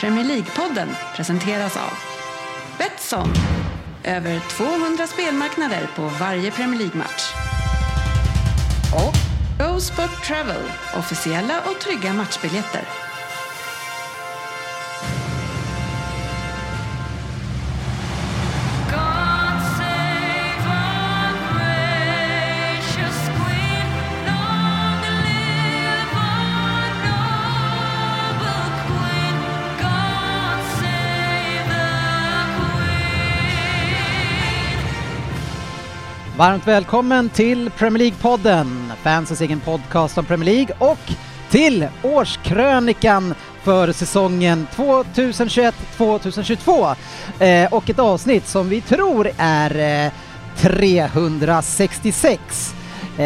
Premier League-podden presenteras av Betsson. Över 200 spelmarknader på varje Premier League-match. Och Go Sport Travel. Officiella och trygga matchbiljetter. God save our gracious Queen. Long live our noble Queen. God save the Queen. Varmt välkommen till Premier League-podden, fansens egen podcast om Premier League och till årskrönikan för säsongen 2021-2022 eh, och ett avsnitt som vi tror är eh, 366. Eh,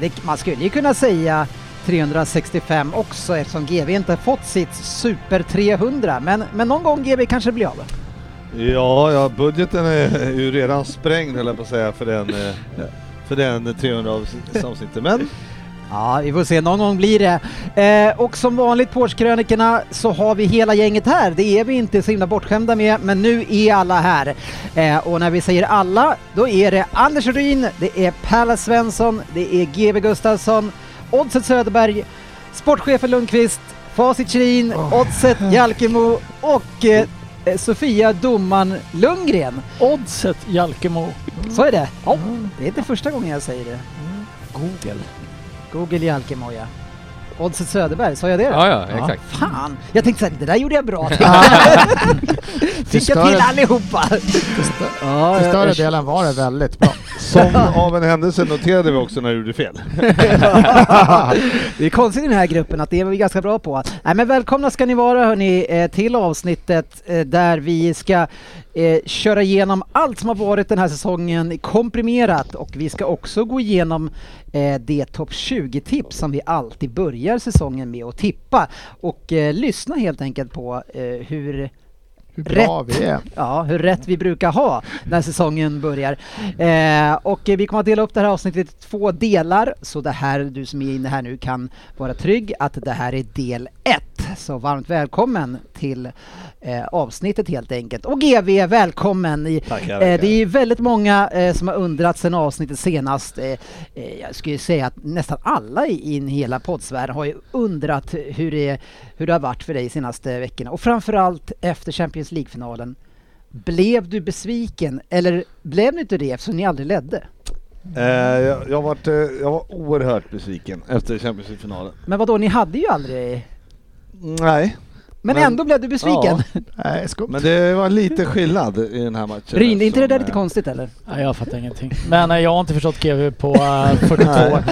det, man skulle ju kunna säga 365 också eftersom GB inte har fått sitt Super 300 men, men någon gång GB kanske det blir av. Ja, ja, budgeten är ju redan sprängd höll jag på att säga för den, eh, för den 300 avs- avsnittet. Men Ja, vi får se. Någon gång blir det. Eh, och som vanligt på årskrönikorna så har vi hela gänget här. Det är vi inte så himla bortskämda med, men nu är alla här. Eh, och när vi säger alla, då är det Anders Ryn, det är Pärla Svensson, det är GB Gustafsson, Oddset Söderberg, sportchefen Lundqvist, Facit Kjellin, Oddset Jalkemo och eh, eh, Sofia Domman Lundgren. Oddset Jalkemo. Så är det. Ja, det är inte första gången jag säger det. Google. Google Jalkemoja. Oddset Söderberg, sa jag det då? Ja, ja, exakt. Fan! Jag tänkte såhär, det där gjorde jag bra. Lycka Förstör- till allihopa! Ja, Till större jag- delen var det väldigt bra. som av en händelse noterade vi också när du gjorde fel. det är konstigt i den här gruppen att det är vi ganska bra på. Nej, men välkomna ska ni vara hörni eh, till avsnittet eh, där vi ska eh, köra igenom allt som har varit den här säsongen komprimerat och vi ska också gå igenom eh, det topp 20-tips som vi alltid börjar säsongen med att tippa och eh, lyssna helt enkelt på eh, hur Hur bra Rätt. vi är. Ja, hur rätt vi brukar ha när säsongen börjar. Eh, och eh, vi kommer att dela upp det här avsnittet i två delar, så det här, du som är inne här nu kan vara trygg att det här är del ett. Så varmt välkommen till eh, avsnittet helt enkelt. Och GV, välkommen! I, Tackar, Eh, det tackar. är ju väldigt många eh, som har undrat sedan avsnittet senast. Eh, eh, jag skulle säga att nästan alla i in i hela poddsfären har ju undrat hur det, hur det har varit för dig de senaste veckorna. Och framförallt efter Champions League-finalen. Blev du besviken eller blev du inte det eftersom ni aldrig ledde? Eh, jag, jag, vart, eh, jag var oerhört besviken efter Champions League-finalen. Men vadå, ni hade ju aldrig... Nej, Men, Men- ändå blev du besviken? Ja. Nej, skumt. men det var lite skillnad i den här matchen. Ryn, är inte det där eftersom, lite eh, konstigt eller? Nej, jag fattar ingenting. Men nej, jag har inte förstått GV på eh, 42 år.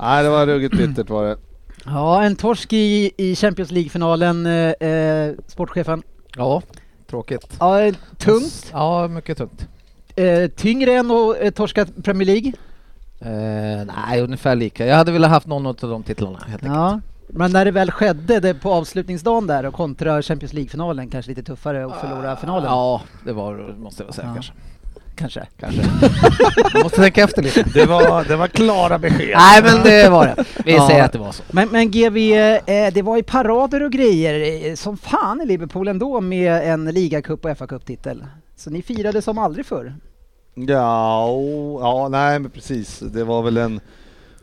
Nej, det var ruggigt bittert var det. Ja, en torsk i, i Champions League-finalen, eh, eh, sportchefen. Ja, tråkigt. Ja, eh, tungt. Ja, mycket tungt. Eh, tyngre än att eh, torska Premier League. Eh, nej, ungefär lika. Jag hade velat haft någon av de titlarna helt enkelt. Ja. Men när det väl skedde det på avslutningsdagen där och kontra Champions League-finalen kanske lite tuffare att förlora finalen. Ja, det var måste jag väl säga Ja. kanske. kanske. kanske. jag måste tänka efter lite. Det var, det var klara besked. Nej, men det var det. Vi Ja. säger att det var så. Men, men GV, eh, det var ju parader och grejer eh, som fan i Liverpool ändå med en ligacup och fa Cup-titel. Så ni firade som aldrig förr. Ja, o- ja, nej men precis. Det var väl en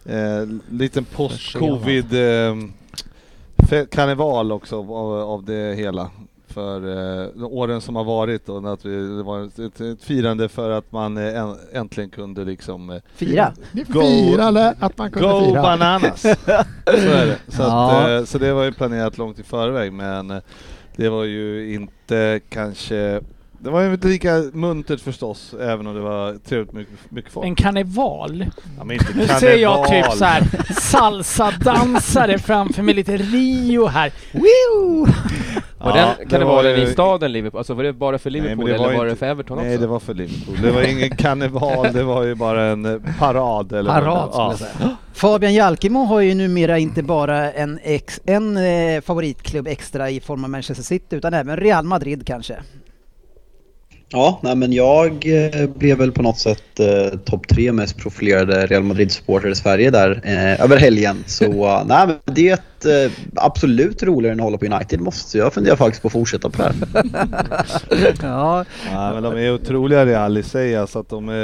eh, liten post-covid eh, fe- karneval också av, av det hela. För eh, de åren som har varit och att vi, det var ett, ett firande för att man eh, än- äntligen kunde liksom eh, Fira. Ni Go- firade att man kunde Go fira. bananas! så är det. Så, Ja. att, eh, så det var ju planerat långt i förväg men eh, det var ju inte kanske det var ju inte lika muntert förstås, även om det var trevligt med mycket, mycket folk. En karneval. Ja, men inte Nu karneval. ser jag typ så här salsa-dansare framför mig, lite Rio här. Woo! Var Ja, den det var karnevalen ju- i staden Liverpool? Alltså var det bara för Liverpool men det eller var var, ju det inte- för Everton Nej, också? det var för Liverpool. Det var ingen karneval, det var ju bara en eh, parad. Eller vad det Parad, var. skulle ja. Fabian Jalkemo har ju numera inte bara en, ex, en eh, favoritklubb extra i form av Manchester City utan även Real Madrid kanske. Ja, nej, men jag eh, blev väl på något sätt eh, topp tre mest profilerade Real Madrid-supporter i Sverige där eh, över helgen. Så eh, nej, men det är ett, eh, absolut roligare än att hålla på United måste jag fundera faktiskt på att fortsätta på det här. Ja, Ja, men de är otroliga Real i sig alltså att de eh,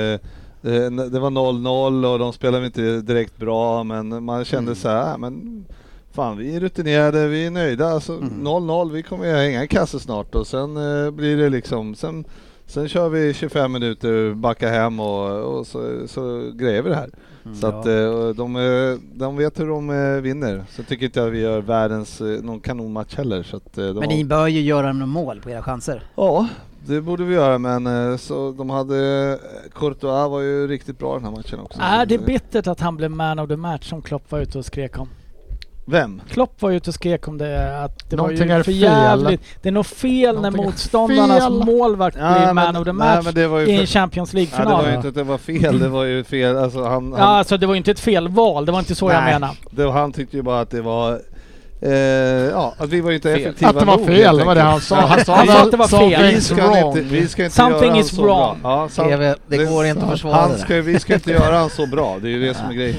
eh, Det var 0-0 och de spelade inte direkt bra men man kände så här, "Ah, men fan vi är rutinerade, vi är nöjda. Alltså 0-0, vi kommer att hänga i kasse snart och sen eh, blir det liksom, sen, sen kör vi 25 minuter, backa hem och, och så, så grejer vi det här. Så att eh, och de, eh, de vet hur de eh, vinner. Så tycker inte jag vi gör världens, eh, någon kanonmatch heller. Så att, eh, de Men har- ni bör ju göra några mål på era chanser. Ja, det borde vi göra men eh, så de hade... eh, Courtois var ju riktigt bra den här matchen också. Är det bittert att han blev man of the match som Klopp var ute och skrek om? Vem? Klopp var ute och skrek om det att det Någonting var är ju för jävligt. Det är nog fel Någonting när är motståndarnas fel. målvakt blir man of the match Nej, men det var ju i en för, Champions nej, det var League-final. ju inte att det var fel, det var ju fel. Alltså, han, Ja, han, alltså det var ju inte ett felval, det var inte så jag Nej. menade. det, han tyckte ju bara att det var... Eh, ja, att vi var ju inte Fel. effektiva Att det var nog, fel, helt det var det enkelt. han sa. Han sa, Han sa väl att det var something's fel. Vi ska wrong. inte, vi ska inte Something göra is han så bra. wrong. Ja, sam- TV, det det- går inte att försvara han det ska, där. vi ska inte göra han så bra, det är ju det som är grejen.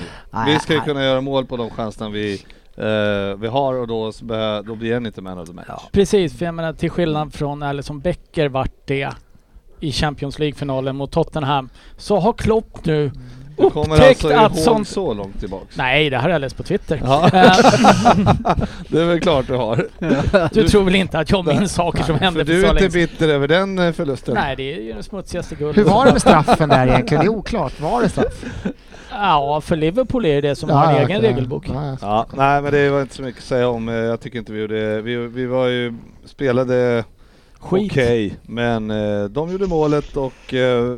Vi ska ju kunna göra mål på de chanserna vi, eh, vi har och då, s- behö- då blir han inte man of the match. Precis, för jag menar till skillnad från Alisson Becker vart det i Champions League-finalen mot Tottenham, så har Klopp nu Du kommer upptäckt alltså att ihåg sånt... så långt tillbaks? Nej, det här har jag läst på Twitter. Ja. Eh, Det är väl klart du har. du, tror väl inte att jag minns saker som För hände för du så är länge inte sedan? bitter över den eh, förlusten? Nej, det är ju den smutsigaste guld. Hur var det med straffen där egentligen? Det är oklart. Var det straff? Ja, för Liverpool är det det som har en Ja, egen okej. regelbok. Ja, ja. Ja, nej men det var inte så mycket att säga om. Eh, Jag tycker inte vi gjorde... Vi, vi var ju... Spelade okej, Skit. men eh, de gjorde målet och eh,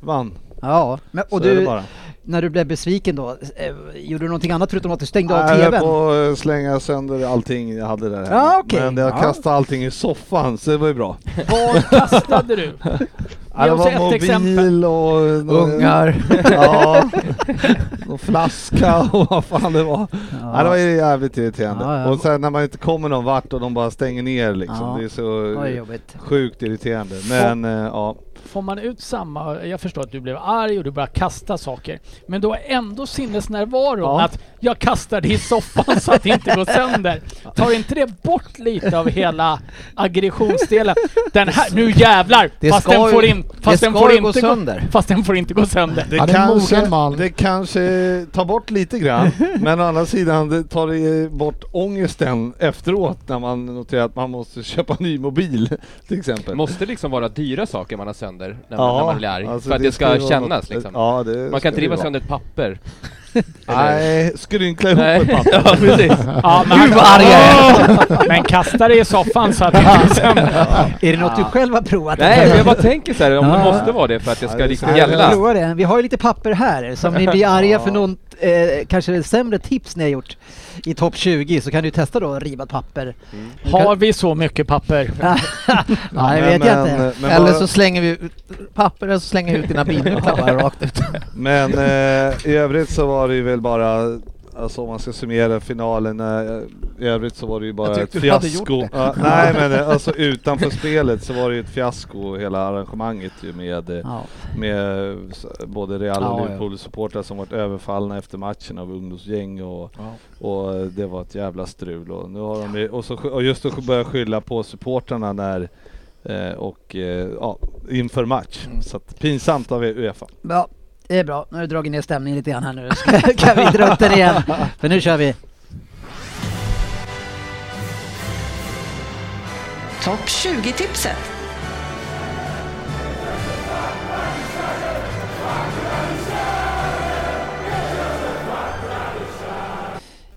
vann. Ja, men, och så är det du, bara. när du blev besviken då, eh, gjorde du någonting annat förutom att du stängde av Nej, Jag TVn? höll på att slänga sönder allting jag hade där hemma. Ja, okej. Men jag Ja. kastade allting i soffan, så det var ju bra. Vad kastade du? Ja, det oss var ett mobil exempel. och... eh, Ungar. Ja, någon flaska och vad fan det var. Ja. det var ju jävligt irriterande. Ja, ja. Och sen när man inte kommer någon vart och de bara stänger ner liksom. Ja. Det är så Det var ju jobbigt. sjukt irriterande. Men eh, ja, Får man ut samma... Jag förstår att du blev arg och du började kasta saker. Men du har ändå sinnesnärvaron Ja. att jag kastar det i soffan så att det inte går sönder. Tar inte det bort lite av hela aggressionsdelen? Den här... Nu jävlar! Det Fast ska den ju- får, in, det fast den ska får ju inte gå sönder. Fast den får inte gå sönder. det, Ja, det är en kanske, mogen man. det kanske tar bort lite grann. men å andra sidan det tar det bort ångesten efteråt när man noterar att man måste köpa ny mobil till exempel. Måste liksom vara dyra saker man har sönder när man, när man blir arg? alltså för att det ska, ju vara kännas något- liksom. Ja, det man kan inte ska det riva vara. sönder ett papper. Nej, skrynkla ihop Nej. ett papper. ja, precis. Ja, men Gud vad arg jag är! Men kasta det i soffan så att det inte går sönder. Är det något du själv har provat? Nej, men jag bara tänker så här, om det Ja. måste vara det för att det ska det liksom ska- Jag gälla. provar det. Vi har ju lite papper här, så om ni blir arga för något eh, kanske sämre tips ni har gjort i topp 20 så kan du testa då rivat papper. Har vi så mycket papper? Nej, det vet jag Men, inte. eh, men Eller bara- så slänger vi ut papper eller så slänger vi ut dina bilnycklar bara rakt ut. Men eh, i övrigt så var det ju väl bara, alltså om man ska summera finalen, eh, i övrigt så var det ju bara Jag ett tyckte du hade fiasko. gjort Ja, nej men eh, alltså utanför spelet så var det ju ett fiasko hela arrangemanget ju med, eh, Ja. med eh, s- både Real Ja, och ja. Liverpool-supportrar som varit överfallna efter matchen av ungdomsgäng och, och eh, det var ett jävla strul. Och, nu har de, ju- och, så, sk- och just att börja skylla på supportrarna när eh, och eh, ja, inför match. Mm. Så att, pinsamt av E Uefa. Ja, det är bra. Nu har du dragit ner stämningen lite grann här nu. Ska, kan vi dra upp den igen? För nu kör vi. Topp 20-tipset.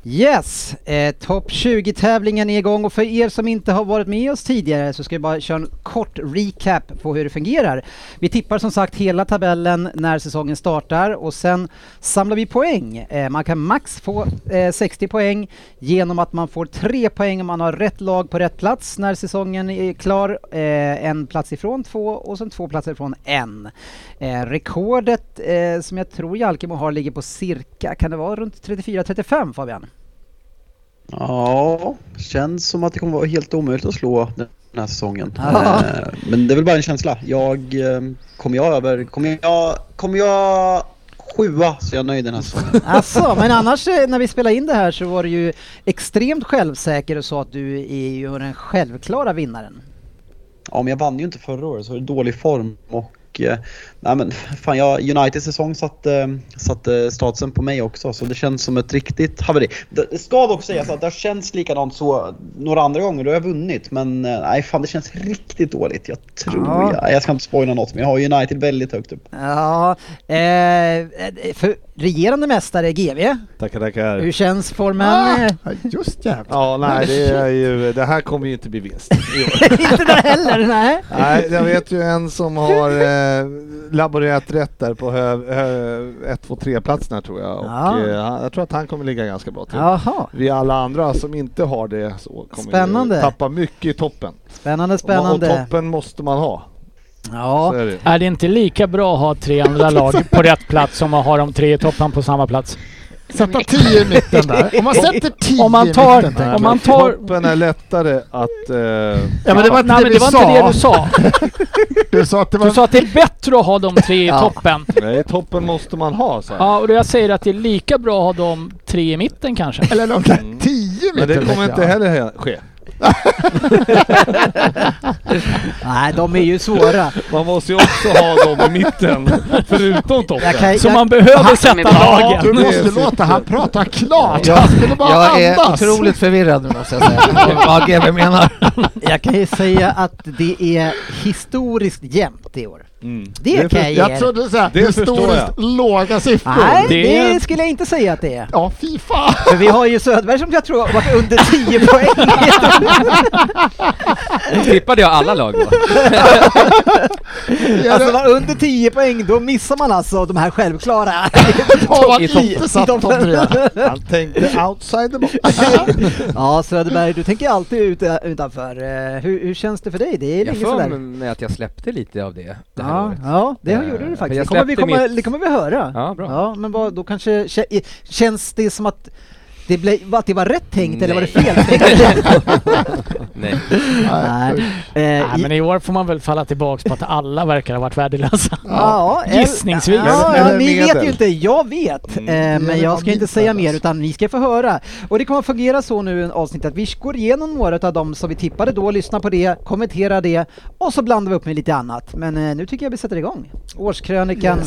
Yes! Eh, Topp 20-tävlingen är igång och för er som inte har varit med oss tidigare så ska vi bara köra en kort recap på hur det fungerar. Vi tippar som sagt hela tabellen när säsongen startar och sen samlar vi poäng. Eh, man kan max få eh, 60 poäng genom att man får 3 poäng om man har rätt lag på rätt plats när säsongen är klar. Eh, en plats ifrån två och sen två platser ifrån en. Eh, rekordet eh, som jag tror Jalkemo har ligger på cirka, kan det vara runt 34-35 Fabian? Ja, känns som att det kommer vara helt omöjligt att slå den här säsongen. Ja. Eh, Men det är väl bara en känsla. Jag, eh, kommer jag över, kommer jag, kommer jag sjua så är jag nöjd den här säsongen. Alltså, men annars eh, när vi spelade in det här så var du ju extremt självsäker och sa att du är ju den självklara vinnaren. Ja, men jag vann ju inte förra året så det är dålig form och eh, nej men fan jag, Uniteds säsong satte, satte statsen på mig också så det känns som ett riktigt haveri. Det det ska dock sägas att det har känts likadant så några andra gånger då har jag vunnit men eh, nej fan det känns riktigt dåligt. Jag tror, Ja. jag, jag ska inte spoila något men jag har United väldigt högt upp. Ja, eh, för regerande mästare GV. Tackar, tackar. Hur känns formen? Eh, Ja, just jävlar. Ja, nej, det, är ju, det här kommer ju inte bli vinst. Inte där heller, nej. nej, jag vet ju en som har eh, laborerat rätt där på hö, hö, 1, 2, 3-platsen här tror jag. Och, Ja. eh, han- jag tror att han kommer ligga ganska bra till. Jaha, Vi alla andra som inte har det så kommer Spännande. ju tappa mycket i toppen. spännande, Och, spännande. toppen måste man ha. Så Ja, är det. ju. Är det inte lika bra att ha tre andra lag på rätt plats som att ha de tre i toppen på samma plats? Sätta 10 i mitten där. Om man sätter 10 Om man i tar... mitten. Nej, Om men man tar Toppen är lättare att... Eh, Ja, men det var inte Nej, men det vi det var inte det sa. du sa. Du sa att det Du var... sa att det är bättre att ha de tre i toppen. nej, toppen måste man ha. Så här. Ja, och då jag säger att det är lika bra att ha de tre i mitten kanske. Eller de där 10 i Mm. Men mitten. det kommer tänkte inte jag. heller he- ske. nej de är ju svåra. Man måste ju också ha dem i mitten, förutom toppen. Jag kan, Så jag, man behöver sätta bra. lagen. Du Det är måste syftet. låta han prata klart. Ja, Han skulle bara Jag är andas. otroligt förvirrad nu måste jag säga. Vad GW menar. jag kan ju säga att det är historiskt jämnt i år. Mm. Det kan jag ge Jag er. trodde såhär Det förstår historiskt låga siffror. Nej, Det är- det skulle jag inte säga att det är. Ja, fy fan. För vi har ju Söderberg som jag tror har varit under 10 poäng. Tippade jag alla lag då? Alltså var under 10 poäng, då missar man alltså de här självklara. Har man I inte topp- satt i topp- topp tre. Han tänkte outside the box. ja Söderberg, du tänker alltid ut, utanför. Eh, Hur, hur känns det för dig? Det är Jag länge får sådär. mig att jag släppte lite av det det här Ja, året. ja, det Eh, gjorde du för faktiskt. jag Det kommer, vi, släppte kommer, mitt- det kommer vi höra. Ja, bra. Ja, men vad, då kanske kä- i- känns det som att det, blev, att det var rätt tänkt eller var det Nej. fel tänkt? Nej. Nej. Eh, Nej, men i år får man väl falla tillbaks på att alla verkar ha varit värdelösa. Ja, el- Gissningsvis. Ja, Eller- ja, eller ni medel. vet ju inte, jag vet. Mm. Eh, men Eller jag vad ska inte medel säga mer alltså. utan ni ska få höra. Och det kommer att fungera så nu i en avsnitt att vi går igenom några av dem som vi tippade då, lyssnar på det, kommenterar det och så blandar vi upp med lite annat. Men eh, nu tycker jag vi sätter igång. Årskrönikan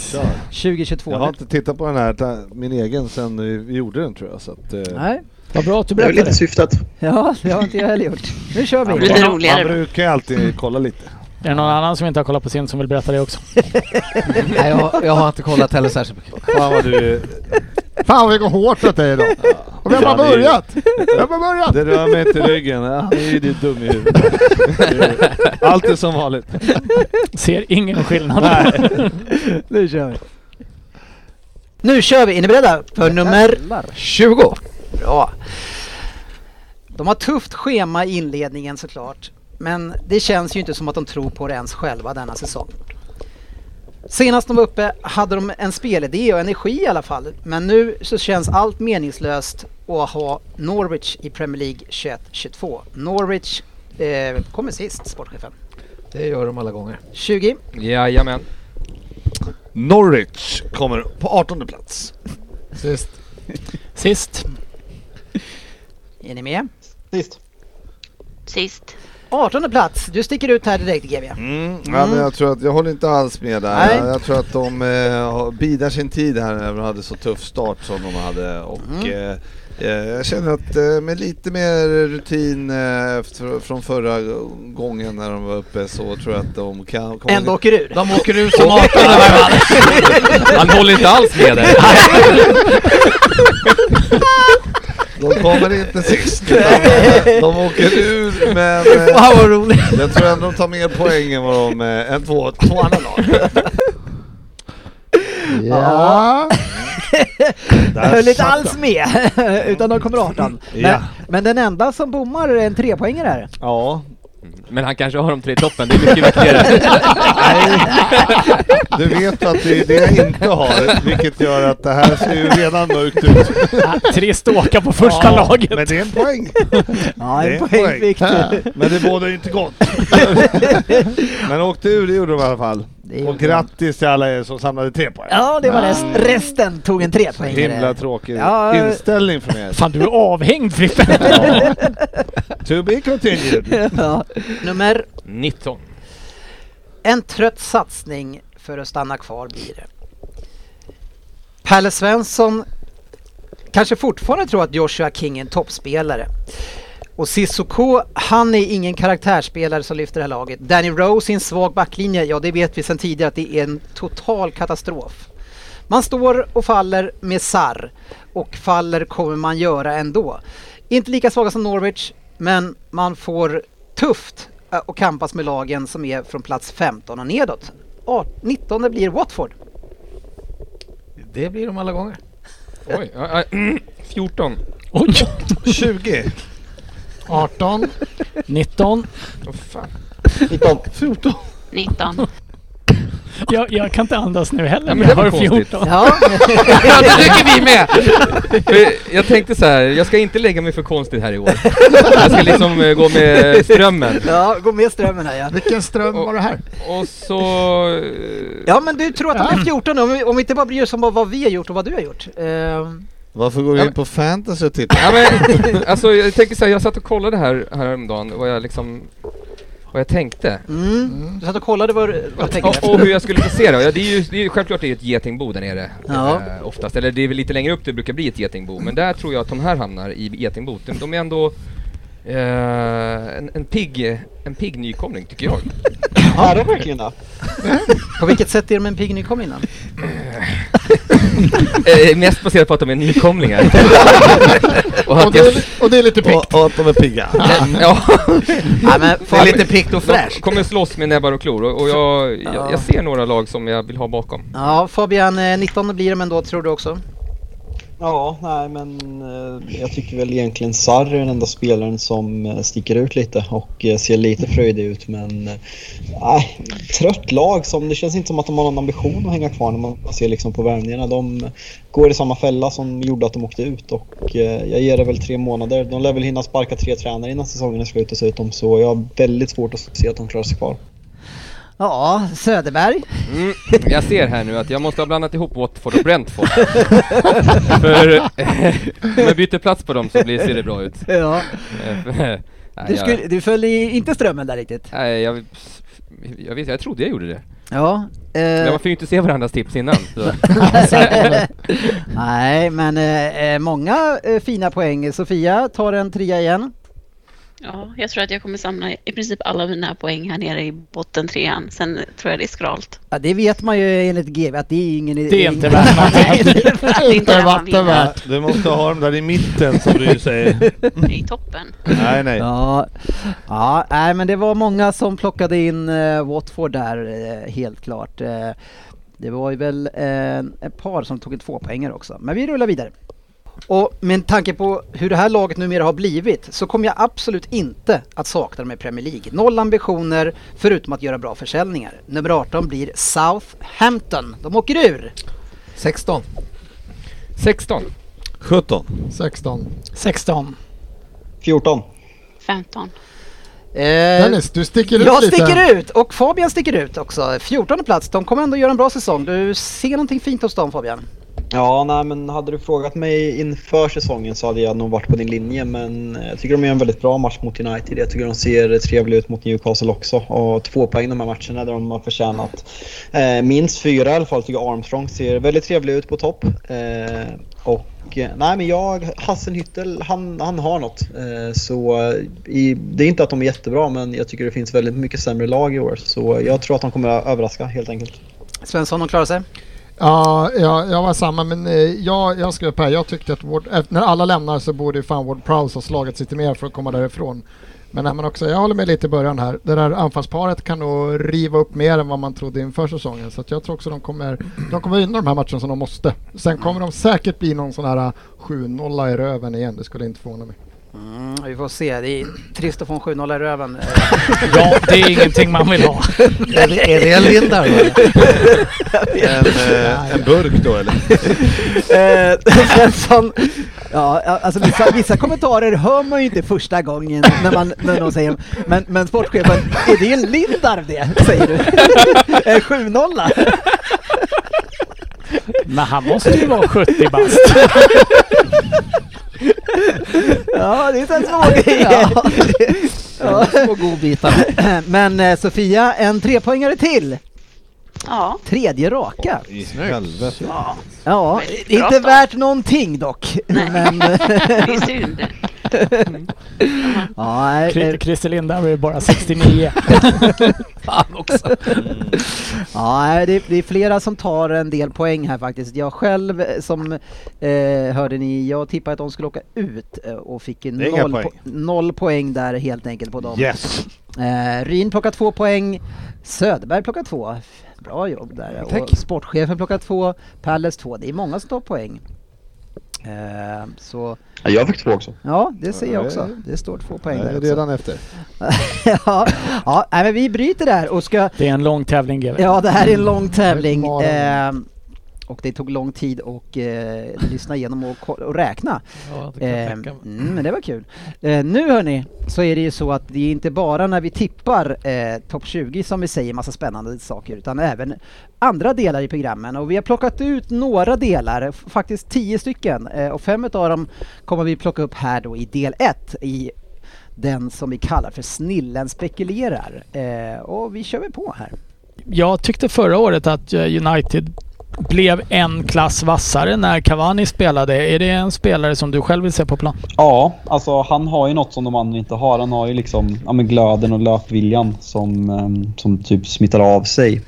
2022. Jag har inte tittat på den här, ta- min egen, sen vi- vi gjorde den tror jag. Så att, eh, Nej, Vad bra att du Det är väl berättade. lite syftet. ja, det har inte jag heller gjort. Nu kör vi. Lite man, roligare. man brukar ju alltid kolla lite. Är det någon annan som inte har kollat på sin som vill berätta det också? Nej, jag, jag har inte kollat heller särskilt mycket. Fan vad du, Fan vad det går hårt åt dig idag. Och vem har Ja, det är- börjat? Vem har börjat? det rör mig inte i ryggen. Ja, det är du dum i huvudet. Allt är som vanligt. Ser ingen skillnad. Nu kör vi. Nu kör vi, är ni beredda? För nummer 20. Bra. De har tufft schema i inledningen såklart. Men det känns ju inte som att de tror på det ens själva denna säsong. Senast de var uppe hade de en spelidé och energi i alla fall. Men nu så känns allt meningslöst att ha Norwich i Premier League 21-22. Norwich eh, kommer sist, sportchefen. Det gör de alla gånger. 20. Jajamän. Norwich kommer på 18 plats. Sist. Sist. Är ni med? Sist. Sist. 18 plats. Du sticker ut här direkt GW. Mm. Ja, men jag, tror att, jag håller inte alls med där. Nej. Jag, jag tror att de eh, har- bidar sin tid här när de hade så tuff start som de hade. Och, Mm. eh, eh, jag känner att eh, med lite mer rutin eh, efter, från förra gången när de var uppe så tror jag att de kan... kommer- Ändå åker ur. De åker ut som 18 i varje fall. Han håller inte alls med dig. De kommer inte sist. utan eh, de åker ur men... Eh, Fan vad roligt. jag tror ändå de tar mer poäng än vad de... Eh, än två, två andra lag. Ja. Där Jag höll inte satt alls den. med, utan de kommer 18. Men, Ja. men den enda som bommar är en trepoängare här. Ja. Men han kanske har de tre i toppen, det är mycket viktigare. Du vet att det är det jag inte har, vilket gör att det här ser ju redan mörkt ut. Tre ståkar på första laget. Men det är en poäng. Ja, Det är en en poäng poäng. Äh. fick du. Men det bådar ju inte gott. Men åkte ur, det gjorde de i alla fall. Det gjorde Och grattis till alla er som samlade tre poäng. Ja, det var rest. Resten tog en Så trepoängare. himla tråkig Ja. inställning från er. Fan, du är avhängd Frippe. Ja. To be continued. Ja. Nummer 19. En trött satsning för att stanna kvar blir det. Pelle Svensson kanske fortfarande tror att Joshua King är en toppspelare. Och Sissoko, han är ingen karaktärsspelare som lyfter det här laget. Danny Rose i en svag backlinje, ja det vet vi sedan tidigare att det är en total katastrof. Man står och faller med Sarr och faller kommer man göra ändå. Inte lika svaga som Norwich, men man får tufft eh, och kampas med lagen som är från plats 15 och nedåt. Art- 19 blir Watford. Det blir de alla gånger. Oj, ja, ja, 14. Oj! 20. 18. 19. Åh, fan. 19. 19. Jag, jag kan inte andas nu heller, Ja, men men jag det var har konstigt. 14. Ja, Ja, det tycker vi med! För jag tänkte så här, jag ska inte lägga mig för konstigt här i år. Jag ska liksom eh, gå med strömmen. ja gå med strömmen här ja. Vilken ström var det här? Och så... eh, Ja men du tror att de är 14 om vi, om vi inte bara bryr oss om vad- vad vi har gjort och vad du har gjort. Ehm, Varför går du in på fantasy och tittar? Ja, men, alltså jag tänker så här, jag satt och kollade här häromdagen vad jag liksom... Vad jag tänkte. mm. Du satt och kollade vad, du- vad du tänker. Och, och hur jag skulle placera ja, det. Är ju, det är ju, självklart det är ett getingbo där nere. Ja. Eh, oftast. Eller det är väl lite längre upp det brukar bli ett getingbo. Men där tror jag att de här hamnar i getingbot. De, de är ändå eh, en, en, pigg, en pigg nykomling tycker jag. Är de verkligen det? På vilket sätt är de en pigg nykomling innan? Eh, mest baserat på att de är nykomlingar. och Och att det, jag... är, och det är lite Och, piggt. och att de är pigga. Ja, Nej men fan, lite piggt och de kommer slåss med näbbar och klor och, och jag, jag, jag ser några lag som jag vill ha bakom. Ja Fabian, eh, 19 blir de ändå tror du också? Ja, nej men eh, jag tycker väl egentligen Sarri är den enda spelaren som eh, sticker ut lite och eh, ser lite fröjdig ut men eh, nej, trött lag som det känns inte som att de har någon ambition att hänga kvar när man ser liksom på värvningarna. De går i samma fälla som gjorde att de åkte ut och eh, jag ger det väl tre månader. De lär väl hinna sparka tre tränare innan säsongen är slut dessutom så jag har väldigt svårt att se att de klarar sig kvar. Ja, Söderberg. Mm, jag ser här nu att jag måste ha blandat ihop Watford och Brentford. För eh, om jag byter plats på dem så blir, ser det bra ut. Ja. Eh, nej, Du, jag, skulle, du följde inte strömmen där riktigt. nej, jag, jag vet jag trodde jag gjorde det. Ja. Men Eh, man får ju inte se varandras tips innan. Så. nej, men eh, eh, många eh, fina poäng. Sofia tar en trea igen. Ja, jag tror att jag kommer samla i princip alla mina poäng här nere i botten trean. Sen tror jag det är skralt. Ja, det vet man ju enligt GV att det är ingen Det är inte ingen- värt någonting. är inte det man vatten vinner. värt. Du måste ha dem där i mitten som du säger. Det är i toppen. Nej, nej. Ja, ja nej, men det var många som plockade in eh, Watford där, eh, helt klart. Eh, det var ju väl eh, ett par som tog en tvåpoängare också, men vi rullar vidare. Och med tanke på hur det här laget numera har blivit så kommer jag absolut inte att sakna dem i Premier League. Noll ambitioner förutom att göra bra försäljningar. Nummer 18 blir Southampton. De åker ur! 16. 16. 17. 16. 16. 14. 15. Eh, Dennis, du sticker ut jag lite. sticker ut och Fabian sticker ut också. 14 plats. De kommer ändå göra en bra säsong. Du ser någonting fint hos dem Fabian. Ja, nej, men hade du frågat mig inför säsongen så hade jag nog varit på din linje. Men jag tycker de gör en väldigt bra match mot United. Jag tycker de ser trevliga ut mot Newcastle också. Och två poäng de här matcherna där de har förtjänat eh, minst fyra i alla fall. Jag tycker Armstrong ser väldigt trevlig ut på topp. Eh, och eh, nej, men jag, Hasselhüttel, han, han har något. Eh, så eh, i, det är inte att de är jättebra, men jag tycker det finns väldigt mycket sämre lag i år. Så jag tror att de kommer att överraska helt enkelt. Svensson, de klarar sig. Ja, jag, jag var samma, men eh, jag, jag skrev upp här, jag tyckte att Ward, eh, när alla lämnar så borde ju fan Ward Prowse ha slagit lite mer för att komma därifrån. Men, nej, men också, jag håller med lite i början här. Det där anfallsparet kan nog riva upp mer än vad man trodde inför säsongen. Så att jag tror också de kommer, de kommer vinna de här matcherna som de måste. Sen kommer de säkert bli någon sån här eh, 7-0 i röven igen, det skulle inte förvåna mig. Mm, vi får se. Det är trist att få en 7-0 i röven. Eh, Ja, det är ingenting man vill ha. Är det- är det en lindar? En, eh, en burk då eller? Eh, Svensson, ja, alltså vissa, vissa kommentarer hör man ju inte första gången när, man, när någon säger men, men sportchefen, är det en Lindarw det? Säger du. Eh, En 7-0 Men han måste ju vara 70 bast. Ja, det är en svår grej. Ja. Små godbitar. Men eh, Sofia, en trepoängare till. Ja, Tredje raka. I helvete. Ja, Väldigt bra inte start. värt någonting dock. Men, det är synd. Mm. ja, eh, Kri- Christer Lindau är bara 69. Fan också. Ja, det, det är flera som tar en del poäng här faktiskt. Jag själv eh, som eh, hörde ni, jag tippade att de skulle åka ut eh, och fick Det är inga noll, poäng. po- noll poäng där helt enkelt på dem. Yes! Eh, Ryn plockar två poäng, Söderberg plockar två. Bra jobb där. Tack. Och sportchefen plockar två, Palles två. Det är många som tar poäng. Eh, så Ja, jag fick två också. ja, det ser jag Ja, också. ja, Det står två poäng Nej, alltså. där också. redan efter. ja, ja, nej, men vi bryter där och ska Det är en lång tävling GW. Ja, det här är Mm. en lång tävling. Det är ehm, och det tog lång tid att eh, lyssna igenom och, ko- och räkna. Ja, det kan jag Ehm, tänka mig. mm, men det var kul. Eh, nu hörni, så är det ju så att det är inte bara när vi tippar eh, topp 20 som vi säger massa spännande saker, utan även andra delar i programmen. Och vi har plockat ut några delar, f- faktiskt tio stycken. Eh, och fem av dem kommer vi plocka upp här då i del 1 i den som vi kallar för Snillen spekulerar. Eh, och vi kör väl på här. Jag tyckte förra året att eh, United blev en klass vassare när Cavani spelade. Är det en spelare som du själv vill se på plan? Ja, alltså han har ju något som de andra inte har. Han har ju liksom ja, men glöden och löpviljan som, ehm, som typ smittar av sig.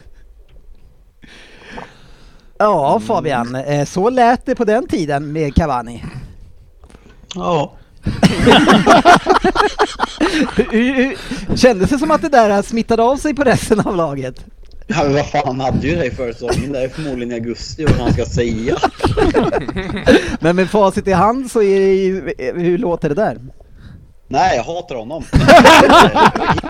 Ja Fabian, eh, så lät det på den tiden med Cavani. Ja. Hur- hur- hur- Kändes det som att det där smittade av sig på resten av laget? Ja, men vad fan, han hade ju dig föreslagningen. Det är förmodligen i augusti vad han ska säga. Men med facit i hand så är det ju, eh, hur låter det där? Nej, jag hatar honom.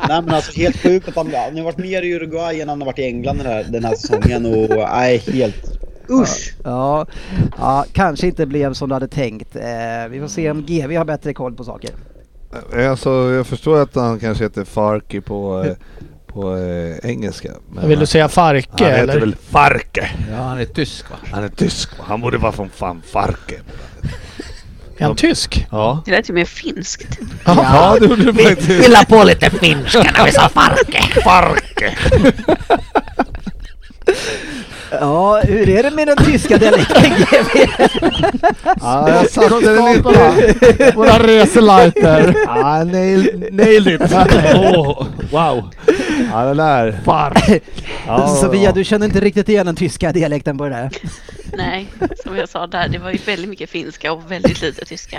nej men alltså helt sjukt att han, han har varit mer i Uruguay än han har varit i England den här, den här säsongen och nej helt... Usch! Ja, ja, kanske inte blev som du hade tänkt. Eh, vi får se om GV har bättre koll på saker. Eh, Alltså, jag förstår att han kanske heter Farki på, eh, på eh, engelska. Men eh, Vill du säga Farke han heter eller? väl Farke? Ja, han är tysk va? Han är tysk. Han borde vara från fan Farke. Är han tysk? Ja. Det lät ju mer finskt. Ja, det gjorde du faktiskt. la på lite finska när vi sa Farke. Farke! Ja, hur är det med den tyska dialekten GV? Ja, jag satte den inte. Våra reselighter. Ja, nail, nailed it! Åh, wow. Ja, den där. Farke. Ja, Sofia, du känner inte riktigt igen den tyska dialekten på det där? Nej, som jag sa där, det var ju väldigt mycket finska och väldigt lite tyska.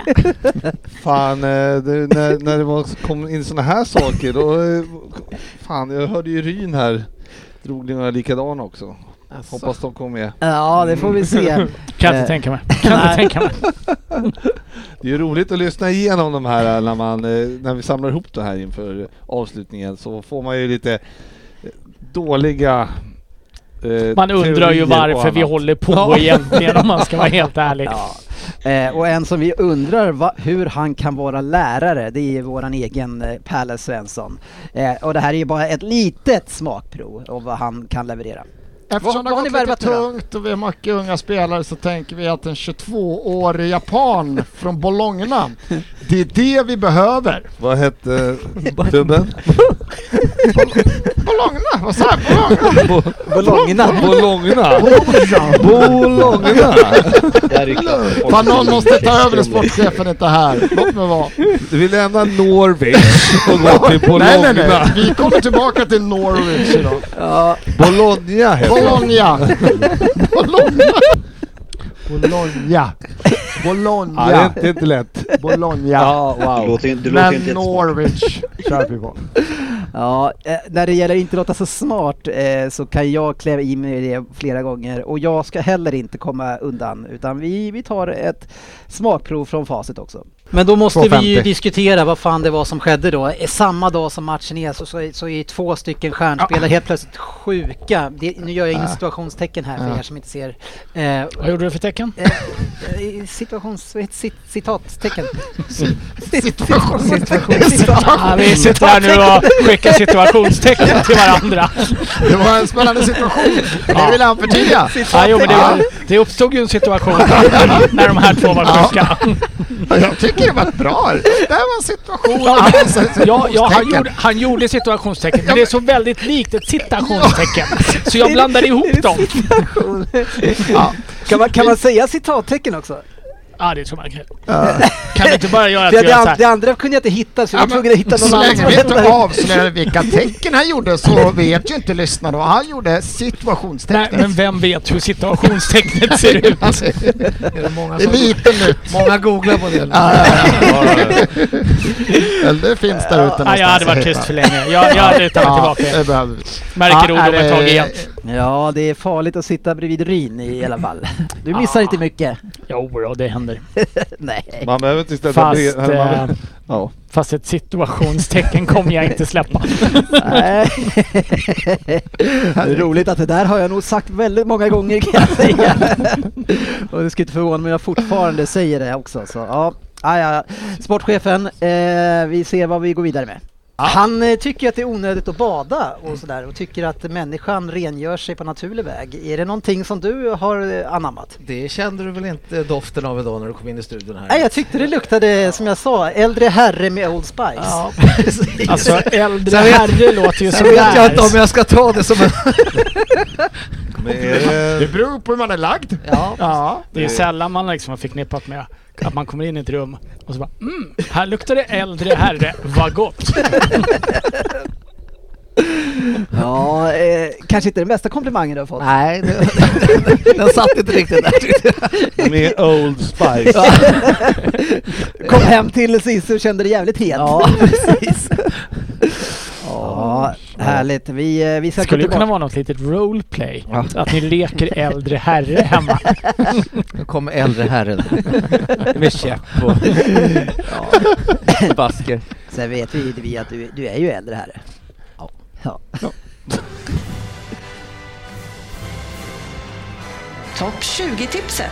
Fan, eh, det, när, när det var, kom in såna här saker då... eh, Fan, jag hörde ju Ryn här. Drog några likadana också. Alltså. Hoppas de kom med. Ja, det får vi se. Kan inte Eh, tänka mig. Kan inte tänka mig. Det är ju roligt att lyssna igenom de här eh, när, man, eh, när vi samlar ihop det här inför avslutningen så får man ju lite eh, dåliga eh, Man undrar teorier ju och varför vi annat. håller på egentligen om man ska vara helt ärlig. Eh, och en som vi undrar va, hur han kan vara lärare, det är ju våran egen eh, Pelle Svensson. Eh, och det här är ju bara ett litet smakprov av vad han kan leverera. Eftersom det vad har har ni gått lite värvat nu då? tungt och vi har mycket unga spelare så tänker vi att en 22-årig japan från Bologna, det är det vi behöver. Vad hette dubben? Bologna, vad sa jag? Bologna! Bologna! Bologna! Bologna! Det här är ju klass- Fan någon måste ta Folk- över när sportchefen inte är här. Låt mig vara. Vi lämnar Norwich och går till Nej, nej, nej. Bologna. Vi kommer tillbaka till Norwich idag. Ja, Bologna heter han. Bologna! Bologna! Bologna! Ja, det är Bologna! inte- det är inte lätt. Bologna! Du låter, ju- du låter ju Men inte jättesmart. Norwich kör vi på. ja, eh, när det gäller inte låta så smart eh, så kan jag klä i mig det flera gånger och jag ska heller inte komma undan utan vi, vi tar ett smakprov från facit också. Men då måste vi ju 2,50. diskutera vad fan det var som skedde då. Eh, Samma dag som matchen är så, så, är- så är två stycken stjärnspelare helt plötsligt sjuka. Det, nu gör jag in situationstecken här för Ja. er som inte ser. Eh, Vad gjorde du för tecken? eh, situations... vad heter Cit, citattecken. Ja, vi sitter här nu och skickar situationstecken till varandra. Det var en spännande situation. Det vill han förtydliga. Ja, jo, men det, var, det uppstod ju en situation när de här två var sjuka. Jag tycker det var bra. Det här var en situation. Ja, ja, han, gjorde, han gjorde situationstecken, men det är så väldigt likt ett citationstecken. Så jag blandade ihop dem. Kan man, kan man säga citattecken också? Ja, det tror man kan. Kan du inte bara göra att Det, vi gör det, såhär? det andra kunde jag inte hitta så jag var tvungen att hitta någon så annan. länge vi inte avslöjar vilka tecken han gjorde så vet ju inte lyssnarna. Och Han gjorde Nej, situationstecknet. men vem vet hur situationstecknet ser ut? Är det många Alltså, Det är som... lite nytt. Många googlar på det nu. Eller det finns där ute någonstans. Nej, jag hade varit att tyst hitta. för länge. Jag, jag hade tagit tillbaka Ja, det det. behöver vi. Märker Ja, ord och nej, tag igen. Ja, det är farligt att sitta bredvid Ryn i alla fall. Du missar Ah. inte mycket. Jo, då, det händer. Nej. Man behöver inte ställa Fast, bre- eller man eh, behöver- ja. fast ett situationstecken kommer jag inte släppa. Nej. Det är Roligt att det där har jag nog sagt väldigt många gånger kan jag säga. Och det skulle inte förvåna mig om jag fortfarande säger det också. Så, ja. Ah, ja. Sportchefen, eh, vi ser vad vi går vidare med. Han eh, tycker att det är onödigt att bada och sådär och tycker att människan rengör sig på naturlig väg. Är det någonting som du har eh, anammat? Det kände du väl inte doften av idag när du kom in i studion här? Nej, jag tyckte det luktade, som jag sa, äldre herre med Old Spice. Ja. Alltså, äldre Sen vet- herre låter ju Sen som vet jag där. inte om jag ska ta det som en... Men är Det det, beror på hur man är lagd. Ja. Ja, det är ju sällan man liksom har förknippat med att man kommer in i ett rum och så bara mm, här luktar det äldre herre, vad gott. Ja, eh, kanske inte den bästa komplimangen du har fått. Nej, det, den satt inte riktigt där tyckte jag. med Old Spice? Kom hem till Sisu och kände dig jävligt het. Ja, precis. Ja, härligt. Vi, eh, vi ska Det skulle ju gå kunna tillbaka. vara något litet roleplay. Att ni leker äldre herre hemma. Nu kommer äldre herren. Med käpp och basker. Sen vet vi, vi att du, du är ju äldre herre. Ja. Topp 20-tipset.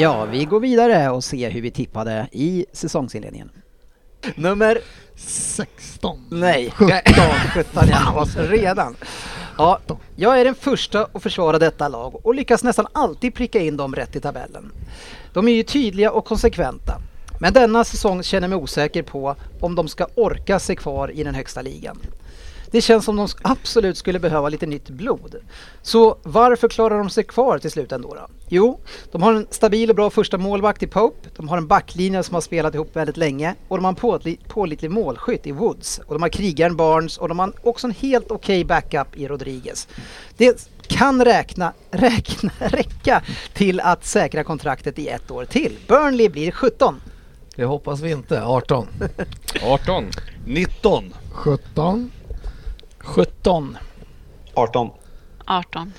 ja, vi går vidare och ser hur vi tippade i säsongsinledningen. Nummer... 16. Nej, 17. 17 ja. Redan. Ja, jag är den första att försvara detta lag och lyckas nästan alltid pricka in dem rätt i tabellen. De är ju tydliga och konsekventa. Men denna säsong känner jag mig osäker på om de ska orka sig kvar i den högsta ligan. Det känns som de sk- absolut skulle behöva lite nytt blod. Så varför klarar de sig kvar till slut ändå då? Jo, de har en stabil och bra första målvakt i Pope, de har en backlinje som har spelat ihop väldigt länge och de har en påtli- pålitlig målskytt i Woods och de har krigaren Barnes och de har också en helt okej backup i Rodriguez. Det kan räkna, räkna, räcka till att säkra kontraktet i ett år till. Burnley blir 17. Det hoppas vi inte. 18. 18. 19. 17. 17. 18. 18.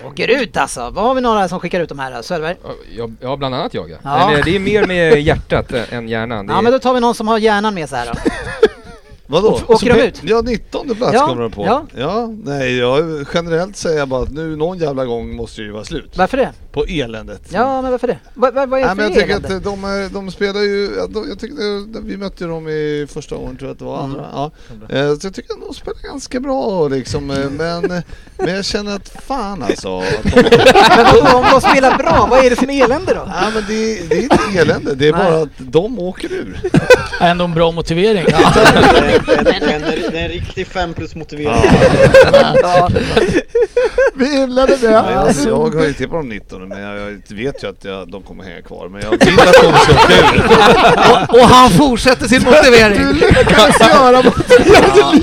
De åker ut alltså! Vad har vi några som skickar ut de här? Söderberg? Ja, ja, bland annat jag ja. Ja. Men, eh, det är mer med hjärtat eh, än hjärnan. Det Ja är, men då tar vi någon som har hjärnan med sig här då. Vadå? Och- åker de ut? Ja, 19 plats Ja, kommer de på. ja. nej, jag, generellt säger jag bara att nu någon jävla gång måste det ju vara slut Varför det? på eländet. Ja, men varför det? Vad, vad, vad är Nej, det men för jag tycker elände? att de, är, de spelar ju, ja, de, jag tycker, vi mötte ju dem i första åren tror jag att det var, Mm. andra. Ja. Eh, Så jag tycker att de spelar ganska bra liksom, eh, men, men jag känner att fan alltså. Att de, Men då, om de spelar bra, vad är det för elände då? nej, men det, det är inte elände, det är Nej. bara att de åker ur. Ändå en bra motivering. Det är en riktig 5 plus motivering. Ja, Vi gillade Ja, det. jag, jag har ju tippat dem 19 men jag, jag vet ju att jag, de kommer hänga kvar. Men jag vill att de ska åka ur. Och, och han fortsätter sin Du motivering. lyckades göra mot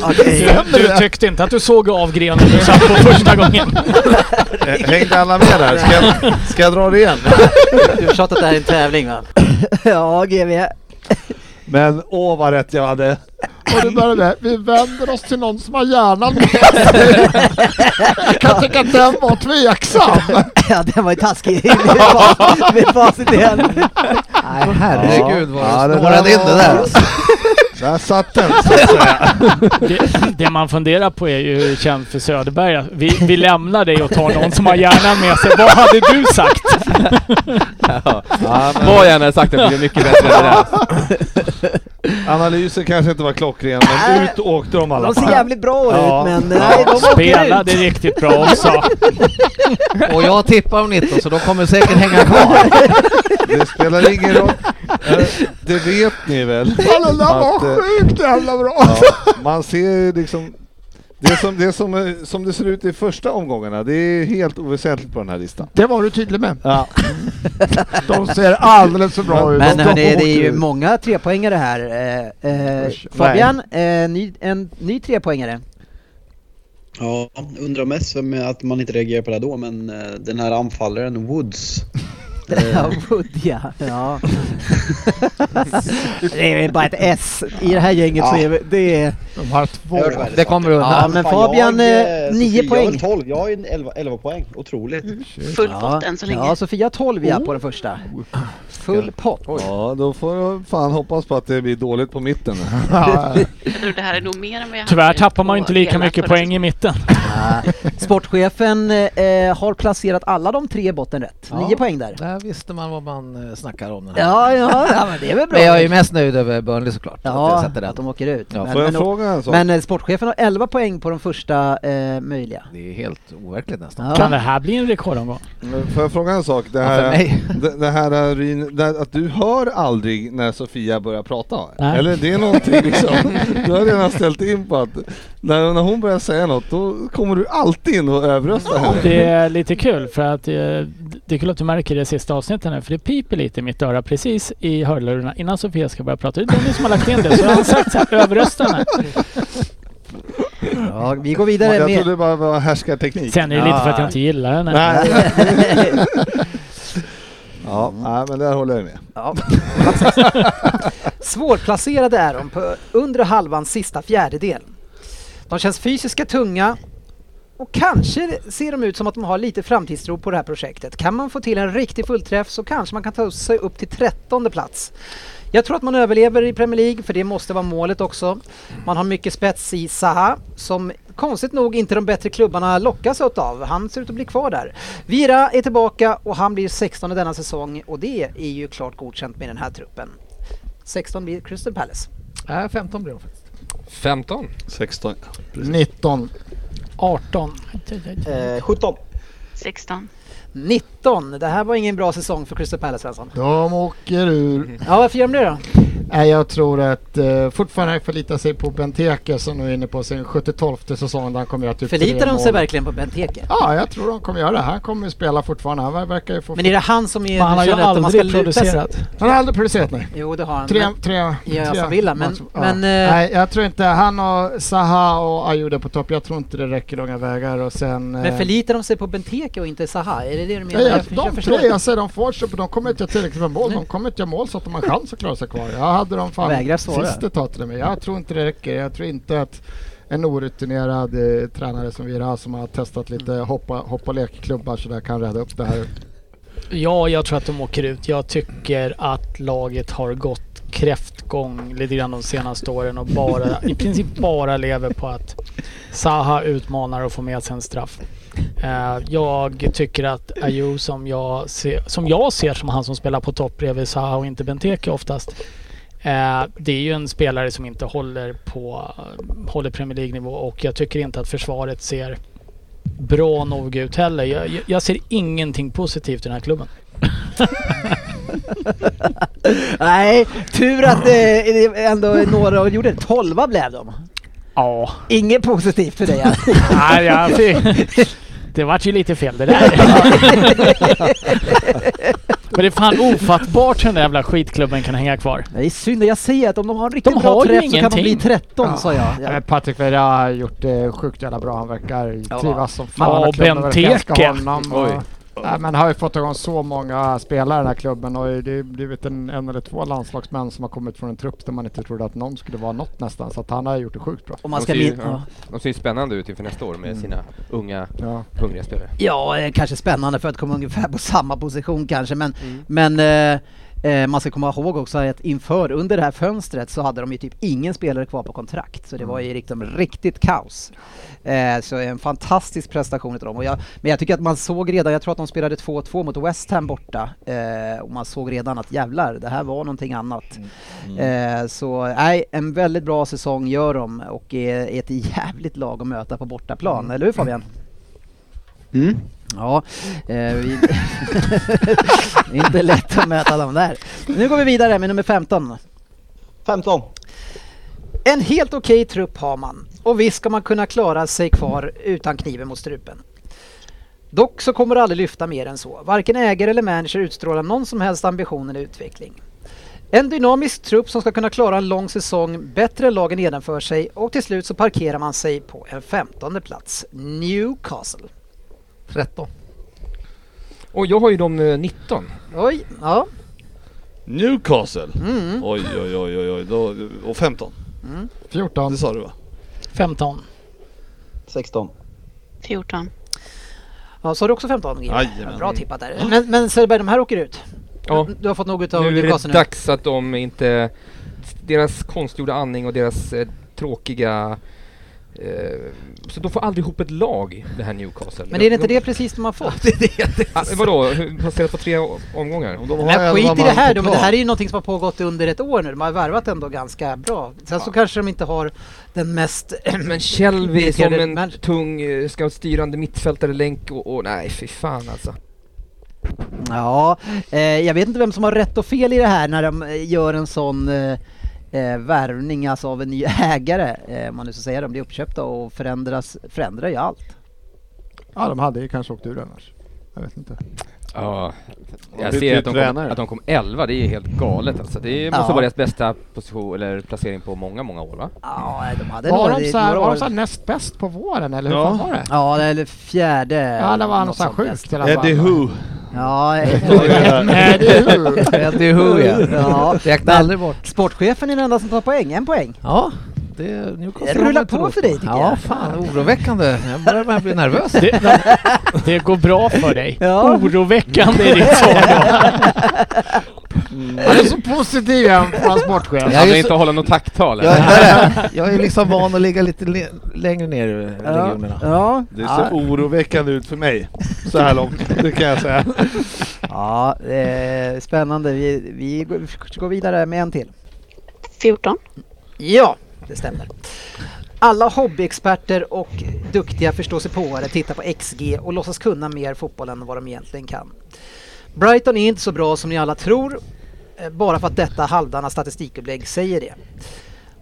okej. Du, du tyckte inte att du såg av grenen du satt på första gången. Eh, Hängde alla med där? Ska jag, ska jag dra det igen? Du har tjatat att det här är en tävling va? Ja, GV. Men åh vad rätt jag hade. Och det börjar med, vi vänder oss till någon som har hjärnan med sig. Jag kan tycka att den var tveksam. Ja, den var ju taskig. Med facit i hand. Nej, herregud vad Ja, ja, det där snårade in det där. Där satt den så att säga. Det, det man funderar på är ju hur det känns för Söderberg. Vi, vi lämnar dig och tar någon som har hjärnan med sig. Vad hade du sagt? Ja, men Vad jag än hade sagt det blir mycket bättre än det där. analysen kanske inte var klockren men ut åkte de i alla De ser fall. jävligt bra Ja. ut men nej, de åker Spelade ut. riktigt bra också. Och jag tippar om 19 så de kommer säkert hänga kvar. Det spelar ingen roll. Eh, Det vet ni väl? Fan, Den där var Att, eh, sjukt jävla bra. Ja, man ser ju liksom det som det, som, eh, som det ser ut i första omgångarna, det är helt oväsentligt på den här listan. Det var du tydlig med. Ja. De ser alldeles för bra ut. Men De- de hörni, det är ju åker ut. många trepoängare här. Eh, eh, Usch, Fabian, eh, ny, en ny trepoängare. Ja, undrar mest vem är- att man inte reagerar på det här då, men eh, den här anfallaren Woods. Ja, Wood ja. ja. Det är bara ett S. I det här gänget så är vi- det är... De har två. Jag hörde vad jag Det sa. kommer undan. Ja, men Fan, Fabian, jag, eh, eh, nio Sofia, Jag har poäng. Mm. 12, jag har en 11, 11 poäng. Otroligt. Full pott än så länge. ja, Sofia 12 ja på den första. Oh. Full pott. Ja, då får du fan hoppas på att det blir dåligt på mitten. Ja, Jag tror det här är nog mer än vad jag Tyvärr hade tappar man ju på inte lika hela mycket förra liksom. poäng i mitten. Ja. Sportchefen eh, har placerat alla de tre i botten rätt. Ja. Nio poäng där. Där visste man vad man eh, snackar om. Den här. Ja, ja, ja men det är väl bra. Men jag är ju mest nöjd över Burnley såklart. att Ja, jag satte den. att de åker ut. Ja, Får jag men, fråga en sak? men eh, sportchefen har 11 poäng på de första eh, möjliga. Det är helt overkligt nästan. Ja. Kan det här bli en rekordomgång? Får jag fråga en sak? Det Ja, för här, mig. det, det här är Ryn- det, att du hör aldrig när Sofia börjar prata? Nej. Eller det är någonting liksom, du har redan ställt in på att när, när hon börjar säga något då kommer du alltid in och överröstar henne. Det är lite kul för att eh, det är kul att du märker det i sista avsnittet här för det piper lite i mitt öra precis i hörlurarna innan Sofia ska börja prata. Det är Dennis som har lagt in det så jag har sagt såhär överrösta henne. Ja, vi går vidare Jag med... trodde det bara var härskarteknik. Sen är det lite för att jag inte gillar henne. Nej. Ja, nej, men där håller jag med. Ja. Svårplacerade är de på undre halvans sista fjärdedel. De känns fysiska tunga och kanske ser de ut som att de har lite framtidstro på det här projektet. Kan man få till en riktig fullträff så kanske man kan ta sig upp till trettonde plats. Jag tror att man överlever i Premier League, för det måste vara målet också. Man har mycket spets i Zaha, som konstigt nog inte de bättre klubbarna lockas av. Han ser ut att bli kvar där. Vira är tillbaka och han blir 16 denna säsong och det är ju klart godkänt med den här truppen. 16 blir Crystal Palace. Nej, 15 blir de faktiskt. 15? 16. 19. 18. Eh, 17. 16. 19, det här var ingen bra säsong för Crystal Palace Svensson. De åker ur. Ja, varför gör de det då? Nej, jag tror att eh, fortfarande förlita sig på Benteke som nu är inne på sin 72 säsong där han kommer göra typ Förlitar tre de sig mål. verkligen på Benteke? Ja, jag tror de kommer göra det. Han kommer ju spela fortfarande. Han verkar ju få... Men är det han som är... Men han har ju känner att man ska aldrig luta sig- producerat. Han har aldrig producerat nej. Jo, det har han. Tre, men- tre, Ja, tre som Villa, men- matcher. men, eh, Nej, jag tror inte... Han och Zaha och Ayuda på topp. Jag tror inte det räcker långa vägar och sen... eh, Men förlitar de sig på Benteke och inte Zaha? Är det det du menar? Nej, jag, Jag- jag de förstår tre, inte. jag säger de får sig, de kommer inte göra tillräckligt med mål. De kommer inte göra mål så att de har chans att klara sig kvar. Jag hade dem Vägrar fan svara. sist ett tag till och med. Jag tror inte det räcker. Jag tror inte att en orutinerad eh, tränare som Vira som har testat lite hoppa, hoppa och lekklubbar så där kan rädda upp det här. Ja, jag tror att de åker ut. Jag tycker att laget har gått kräftgång lite grann de senaste åren och bara, i princip bara lever på att Zaha utmanar och får med sig en straff. Eh, Jag tycker att Ayew som jag, ser, som jag ser som han som spelar på topp bredvid Zaha och inte Benteke oftast. eh, Det är ju en spelare som inte håller på håller Premier League-nivå och jag tycker inte att försvaret ser bra nog ut heller. Jag, jag- jag ser ingenting positivt i den här klubben. Nej, tur att det det ändå är några och gjorde det. Tolva blev de. Ja. Inget positivt för dig. alltså. Nej, jag fick... Det vart ju lite fel det där. Men det är fan ofattbart hur den där jävla skitklubben kan hänga kvar. Det är synd, jag säger att om de har en riktigt De bra har ju träff så kan de bli ingenting. 13 sa jag. Men Patrik Eh, Vieira har gjort det sjukt jävla bra. Han verkar Ja. trivas som Ja, fan. och Klubben verkar älska Benteke. honom och- Nej, men har ju fått igång så många spelare i den här klubben och det har ju blivit en, en eller två landslagsmän som har kommit från en trupp där man inte trodde att någon skulle vara något nästan. Så att han har gjort det sjukt bra. Om man de, ska ser ju, min- ja, de ser ju spännande ut inför nästa år med Mm. sina unga, Ja. hungriga spelare. Ja, eh, kanske spännande för att komma ungefär på samma position kanske, men, men eh, eh, man ska komma ihåg också att inför, under det här fönstret så hade de ju typ ingen spelare kvar på kontrakt, så det var ju liksom riktigt kaos. Eh, så en fantastisk prestation utav dem. Och jag, men jag tycker att man såg redan, jag tror att de spelade 2-2 mot West Ham borta, eh, och man såg redan att jävlar, det här var någonting annat. Eh, så nej, en väldigt bra säsong gör de och är, är ett jävligt lag att möta på bortaplan, eller hur Fabian? Mm. Ja, eh, vi... det är inte lätt att möta dem där. Nu går vi vidare med nummer 15. 15. En helt okej trupp har man och visst ska man kunna klara sig kvar utan kniven mot strupen. Dock så kommer det aldrig lyfta mer än så. Varken ägare eller manager utstrålar någon som helst ambition eller utveckling. En dynamisk trupp som ska kunna klara en lång säsong bättre än lagen nedanför sig och till slut så parkerar man sig på en femtonde plats. Newcastle. 13. Och jag har ju de eh, 19. Oj, ja. Newcastle. Mm. Oj, oj, oj, oj, oj. Då, och 15. 14. Det sa du va? 15. 16. 14. Ja, så har du också 15 GB? Jajamän. Bra tippat där. Men, men Söderberg, de här åker ut. Ja. Du har fått något av Nu är Newcastle det nu. dags att de inte... Deras konstgjorda andning och deras eh, tråkiga... Eh, så de får aldrig ihop ett lag, det här Newcastle. Men är det De- inte de- det precis de har fått? Ah, vadå? Hur- Baserat på tre o- omgångar? Om de har Men skit elva i det man här på då, plan. men det här är ju någonting som har pågått under ett år nu. De har värvat ändå ganska bra. Sen så kanske de inte har den mest... Men Shelby som Irriterade en manager. tung, eh, scoutstyrande mittfältare, länk och, och nej fy fan alltså. Ja, eh, jag vet inte vem som har rätt och fel i det här när de eh, gör en sån eh, eh, värvning alltså av en ny ägare. Eh, om man nu ska säga de blir uppköpta och förändras, förändrar ju allt. Ja, de hade ju kanske åkt ur annars. Jag vet inte. Ja, Och jag bytt ser ut att de, kom, tränare. att de kom 11, det är helt galet alltså. Det måste Ja. vara deras bästa position, eller placering på många, många år va? Ja, de hade Var några- de, så här, några var år- de så här näst bäst på våren eller hur Ja. fan var det? Ja, eller fjärde. Ja, det var något något sånt sånt där. sjukt i alla fall. Eddie Who. Ja, Eddie Who. Eddie Who ja. Ja, Räkna aldrig bort. sportchefen är den enda som tar poäng, en poäng. Ja, det Newcastle Det rullar har man inte på råd för dig, tycker Ja, jag. fan oroväckande. Jag börjar börjar bli nervös. Det, det går bra för dig. Ja. Oroväckande är ditt svar. Han är så positiv igen, vår sportchef. Jag är Han ju vill så- inte hålla något tacktal Jag, eller? jag är liksom van att ligga lite le- längre ner i Ja, regionerna. ja. Det ser oroväckande ut för mig. Så här långt, det kan jag säga. ja eh, spännande. Vi, vi går- vi går vidare med en till. 14. Ja, det stämmer. Alla hobbyexperter och duktiga förståsigpåare tittar på XG och låtsas kunna mer fotboll än vad de egentligen kan. Brighton är inte så bra som ni alla tror, eh, bara för att detta halvdana statistikupplägg säger det.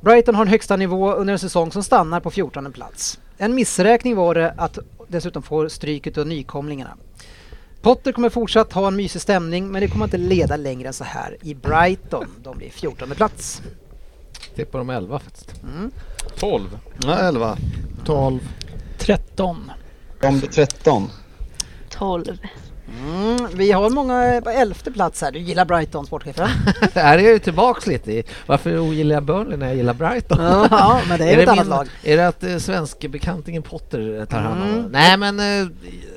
Brighton har en högsta nivå under en säsong som stannar på 14 plats. En missräkning var det att dessutom få stryk av nykomlingarna. Potter kommer fortsatt ha en mysig stämning men det kommer inte leda längre än så här i Brighton. De blir 14 plats. Det är på de 11 faktiskt. 12. Ja, 11. 12. 13. Om det 13. 12. Mm, vi har många eh, på elfte plats här. Du gillar Brighton, sportchefen? Här är jag ju tillbaks lite i varför ogillar jag Burnley när jag gillar Brighton? ja, men det är, ju ett annat min- lag. Är det att eh, svenske bekantingen Potter eh, tar hand om Mm. det? Nej men, eh,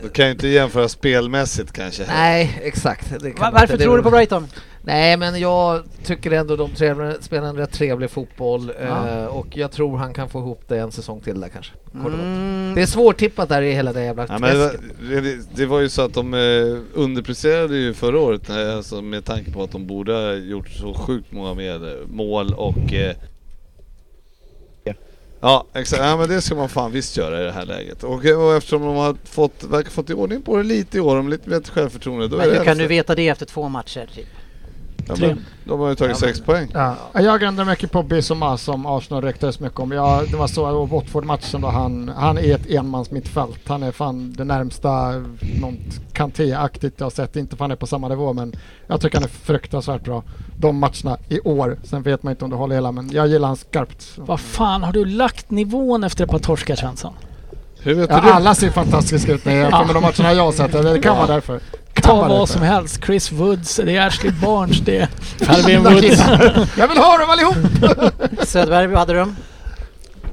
Du kan ju inte jämföra spelmässigt kanske. nej exakt. Det kan Va- man varför inte. Det tror du beror- på Brighton? Nej men jag tycker ändå de trevliga, spelar en rätt trevlig fotboll eh, och jag tror han kan få ihop det en säsong till där kanske. Kort och gott. Mm. Det är svårtippat där i hela det jävla Ja, träsket. men det, det, det var ju så att de eh, underpresterade ju förra året eh, alltså med tanke på att de borde ha gjort så sjukt många mer eh, mål och... Eh, Ja. ja, exakt. Ja, men det ska man fan visst göra i det här läget. Och, eh, och eftersom de har fått, verkar fått i ordning på det lite i år, de har lite bättre självförtroende. Då Men är det hur kan du elfte. veta det efter två matcher? Typ? ja, Tre. men, De har ju tagit sex poäng. Ja. Jag grundar mycket på Bissoma som Arsenal ryktades mycket om. Ja, det var så, och Watford-matchen då han, han är ett enmansmittfält. Han är fan det närmsta något Kanté-aktigt jag har sett. Inte fan är på samma nivå men jag tycker han är fruktansvärt bra. De matcherna i år. Sen vet man inte om det håller hela men jag gillar han skarpt. Vad fan, har du lagt nivån efter ett par torskar Svensson? Hur vet Ja, du det? alla ser fantastiska ut när jag jämför med de matcherna jag har sett. Det kan vara därför. Kan Ta vara vad därför. som helst. Chris Woods, det är Ashley Barnes, det är Calvin Jävla Woods. killar. Jag vill ha dem allihop! Söderberg, vad hade de?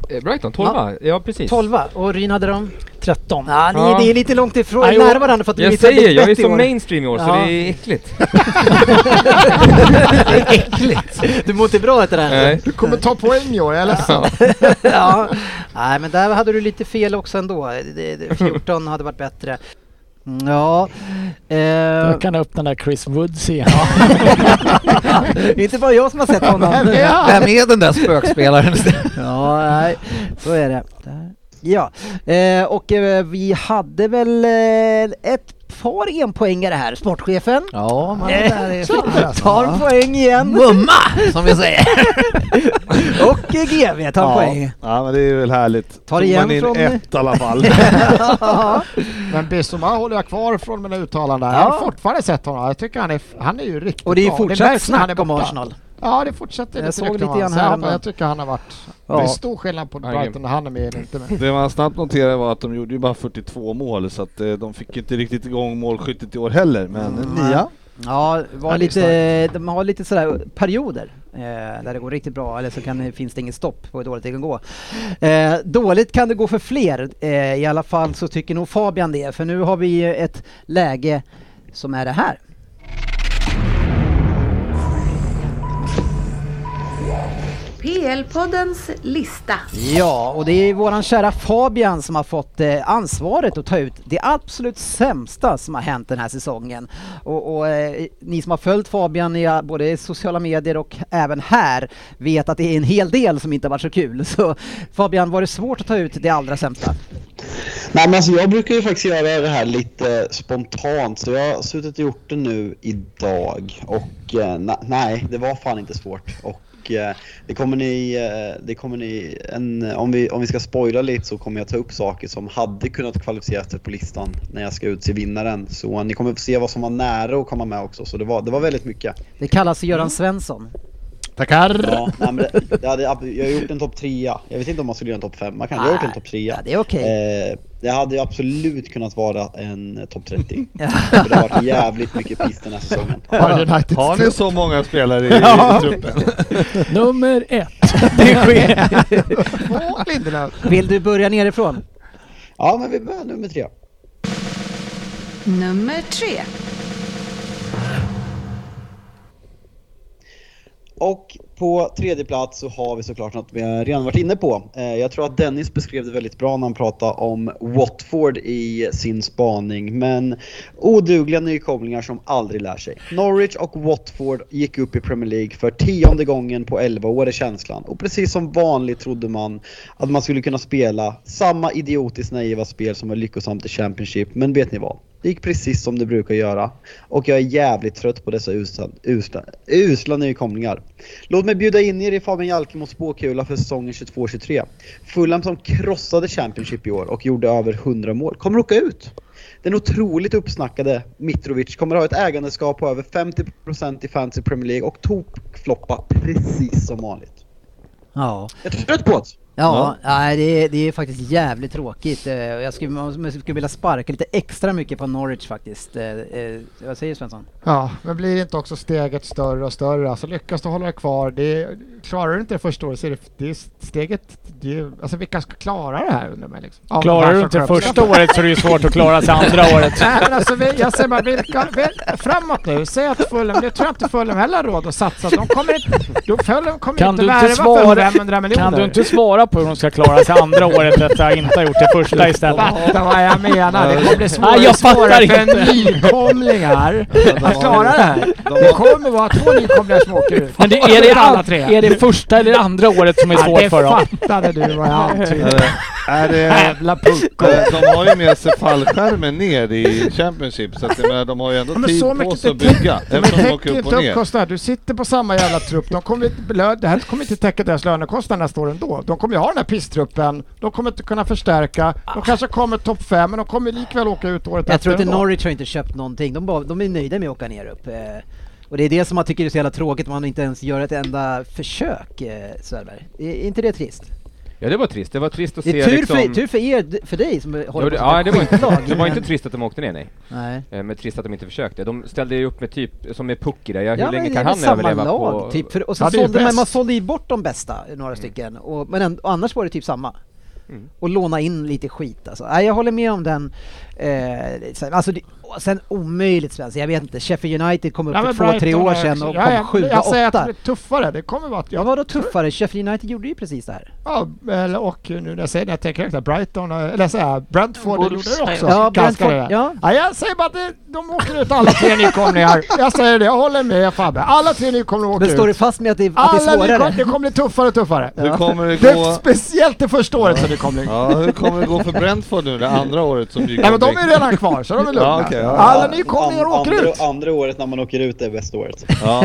Eh, Brighton, 12 ja. precis. 12 och Ryn hade de? 13. Ja, ni, Ja. det är lite långt ifrån, Aj, nära och- varandra för att Jag ni tar säger, lite jag är bett i så år. mainstream i år så Ja. det är äckligt. Du mår inte bra efter det här? Nej. Du kommer ta poäng i år, jag är ledsen. ja. Nej, men där hade du lite fel också ändå. Det- det- 14 hade varit bättre. Mm, Ja, eh, Jag kan öppna den där Chris Woods igen. det är inte bara jag som har sett honom. Vem är den där spökspelaren? Ja, nej, så är det. Där. Ja, eh, och eh, vi hade väl eh, ett par enpoängare här, sportchefen. ja, man är där i Eh, flitter alltså. tar Ja. poäng igen Mumma, som vi säger. och eh, GV tar poäng. ja, men det är väl härligt. Ta det Tog igen man in från- ett i alla fall. Men Bissoma håller jag kvar från mina uttalanden. Ja. Jag har fortfarande sett honom. Jag tycker han är, han är ju riktigt bra. Och det är fortsatt märks när han är snack om borta. Arsenal. Ja, det fortsätter Jag lite såg rykten om lite honom. grann Så här jag- om dagen. Jag tycker han har varit... Ja. Det är stor skillnad på Ja, grym. Brighton när han är med eller inte med. Det man snabbt noterade var att de gjorde ju bara 42 mål så att eh, de fick ju inte riktigt igång målskyttet i år heller. Men Mm, en nia. Ja, var Ja, det är lite, de har lite sådär perioder eh, där det går riktigt bra eller så kan, det- finns det inget stopp på hur dåligt det kan gå. Eh, dåligt kan det gå för fler, eh, i alla fall så tycker nog Fabian det, för nu har vi ju ett läge som är det här. PL-poddens lista. Ja, och det är våran kära Fabian som har fått eh, ansvaret att ta ut det absolut sämsta som har hänt den här säsongen. Och, och eh, ni som har följt Fabian i eh, både i sociala medier och även här vet att det är en hel del som inte har varit så kul. Så Fabian, var det svårt att ta ut det allra sämsta? Nej, men alltså jag brukar ju faktiskt göra det här lite spontant, så jag har suttit och gjort det nu idag. Och eh, na- nej, det var fan inte svårt. Och eh, det kommer ni... eh, Det kommer ni en, om, vi, om vi ska spoila lite så kommer jag ta upp saker som hade kunnat kvalificera sig på listan när jag ska utse vinnaren. Så eh, ni kommer få se vad som var nära att komma med också, så det var, det var väldigt mycket. Det kallas Göran Svensson. Tackar! Ja, nej, men det, det hade, jag har gjort en topp trea. Jag vet inte om man skulle göra en topp femma kanske. Jag har gjort en topp trea. Ja, det är okej. Eh, det hade ju absolut kunnat vara en topp 30. För det har varit jävligt mycket piss den här säsongen. Har United Har ni så många spelare i, i truppen? Nummer ett. två Lindelöf? Vill du börja nerifrån? Ja, men vi börjar nummer tre. Nummer tre. Och på tredje plats så har vi såklart något vi redan varit inne på. Eh, Jag tror att Dennis beskrev det väldigt bra när han pratade om Watford i sin spaning. Men odugliga nykomlingar som aldrig lär sig. Norwich och Watford gick upp i Premier League för tionde gången på 11 år är känslan. Och precis som vanligt trodde man att man skulle kunna spela samma idiotiskt naiva spel som var lyckosamt i Championship. Men vet ni vad? Det gick precis som det brukar göra och jag är jävligt trött på dessa usla, usla, usla nykomlingar. Låt mig bjuda in er i Fabian Jalkemos spåkula för säsongen 22-23. Fulham som krossade Championship i år och gjorde över 100 mål kommer åka ut. Den otroligt uppsnackade Mitrovic kommer ha ett ägandeskap på över 50% i Fantasy Premier League och tokfloppa precis som vanligt. Ja. Jag är trött på det! Ja, Nej, det, är, det är faktiskt jävligt tråkigt. Eh, Jag skulle, man skulle vilja sparka lite extra mycket på Norwich faktiskt. Eh, eh, Vad säger Svensson? Ja, men blir inte också steget större och större? Alltså lyckas du hålla dig kvar, det, klarar du inte det första året så är det, det är steget... Det, är- alltså vilka ska klara det här undrar man liksom? Av de här Klarar du som inte sköter sig. första året så är det ju svårt att klara sig andra året. Nej men alltså vi, jag säger bara, vilka, vi, framåt nu, säg att Fulham, det tror jag inte Fulham heller har råd att satsa. De kommer inte, de Fulham kommer Kan inte du inte värva svara- för 500 miljoner. Kan du inte svara på hur de ska klara sig andra året efter att jag inte har gjort det första istället? Fatta vad jag menar, det kommer bli Nej, svårare jag och svårare fattar för inte. nykomlingar att klara det här. Det kommer vara två nykomlingar som åker ut. Men det, är, det, Inte alla an- tre. är det första eller andra året som är Ja, svårt det för dem? fattade du vad jag antydde. är det, Jävla puck. Eh, De har ju med sig fallskärmen ner i Championship så att jag menar, de har ju ändå Ja, men tid så på mycket sig att täcker- bygga Men eftersom de täcker åker upp inte och upp ner. kostnader. Du sitter på samma jävla trupp. De kommer inte, lö- det här kommer inte täcka deras lönekostnader nästa år ändå. De kommer ju ha den här pisstruppen. De kommer inte kunna förstärka. De kanske kommer topp fem, men de kommer likväl åka ut året Jag efter tror inte ändå. Norwich har inte köpt någonting. De, bara, de är nöjda med att åka ner upp. eh. Och det är det som man tycker är så jävla tråkigt, man inte ens gör ett enda försök, eh, Söderberg. Är är inte det trist? Ja, det var trist. Det var trist att Det se är tur, liksom... för, tur för er, d- för dig som håller Jo, på det, som ja, ett det var, inte, skitlag, det var inte men- trist att de åkte ner, nej. Nej. Eh, Men trist att de inte försökte. De ställde ju upp med typ, som med Pucky där, ja, hur Ja, länge men det är kan väl han samma överleva lag på... typ. För, och sen Ja, det är sålde man, bäst. man sålde ju bort de bästa, några stycken. Och, men ändå, annars var det typ samma. Mm. Och låna in lite skit alltså. Nej, jag håller med om den. Eh, sen, alltså, det, och sen omöjligt Svensson, jag vet inte. Sheffield United kom upp Ja, för men två, Brighton tre år har sedan också- och Ja, kom jag- sjua, Jag säger att det åtta. blir tuffare. Det kommer vara att... Ja, Jag, vadå tuffare? Sheffield United gjorde ju precis det här. ja, eller- och nu när jag säger det, jag tänker efter. Brighton, eh, eller så här, Brentford gjorde Wolves, det också. ja. Ja, Ganska Brentford- rejält. ja. Ja, jag säger bara att det, de åker ut alla tre nykomlingar. Jag säger det, jag håller med Fabbe. Alla tre nykomlingar åker Men står du ut. fast med att det, att det Alla är svårare? nykomlingar, det kommer bli tuffare och tuffare. Hur kommer det Det är gå... speciellt det första året som nykomling. Ja, hur kommer det gå för Brentford nu det andra året som Nej nykomling? men de är ju redan kvar så de är lugna. Ja, okej, ja. Alla nykomlingar åker andra, ut. Andra året när man åker ut är bästa året. Ja,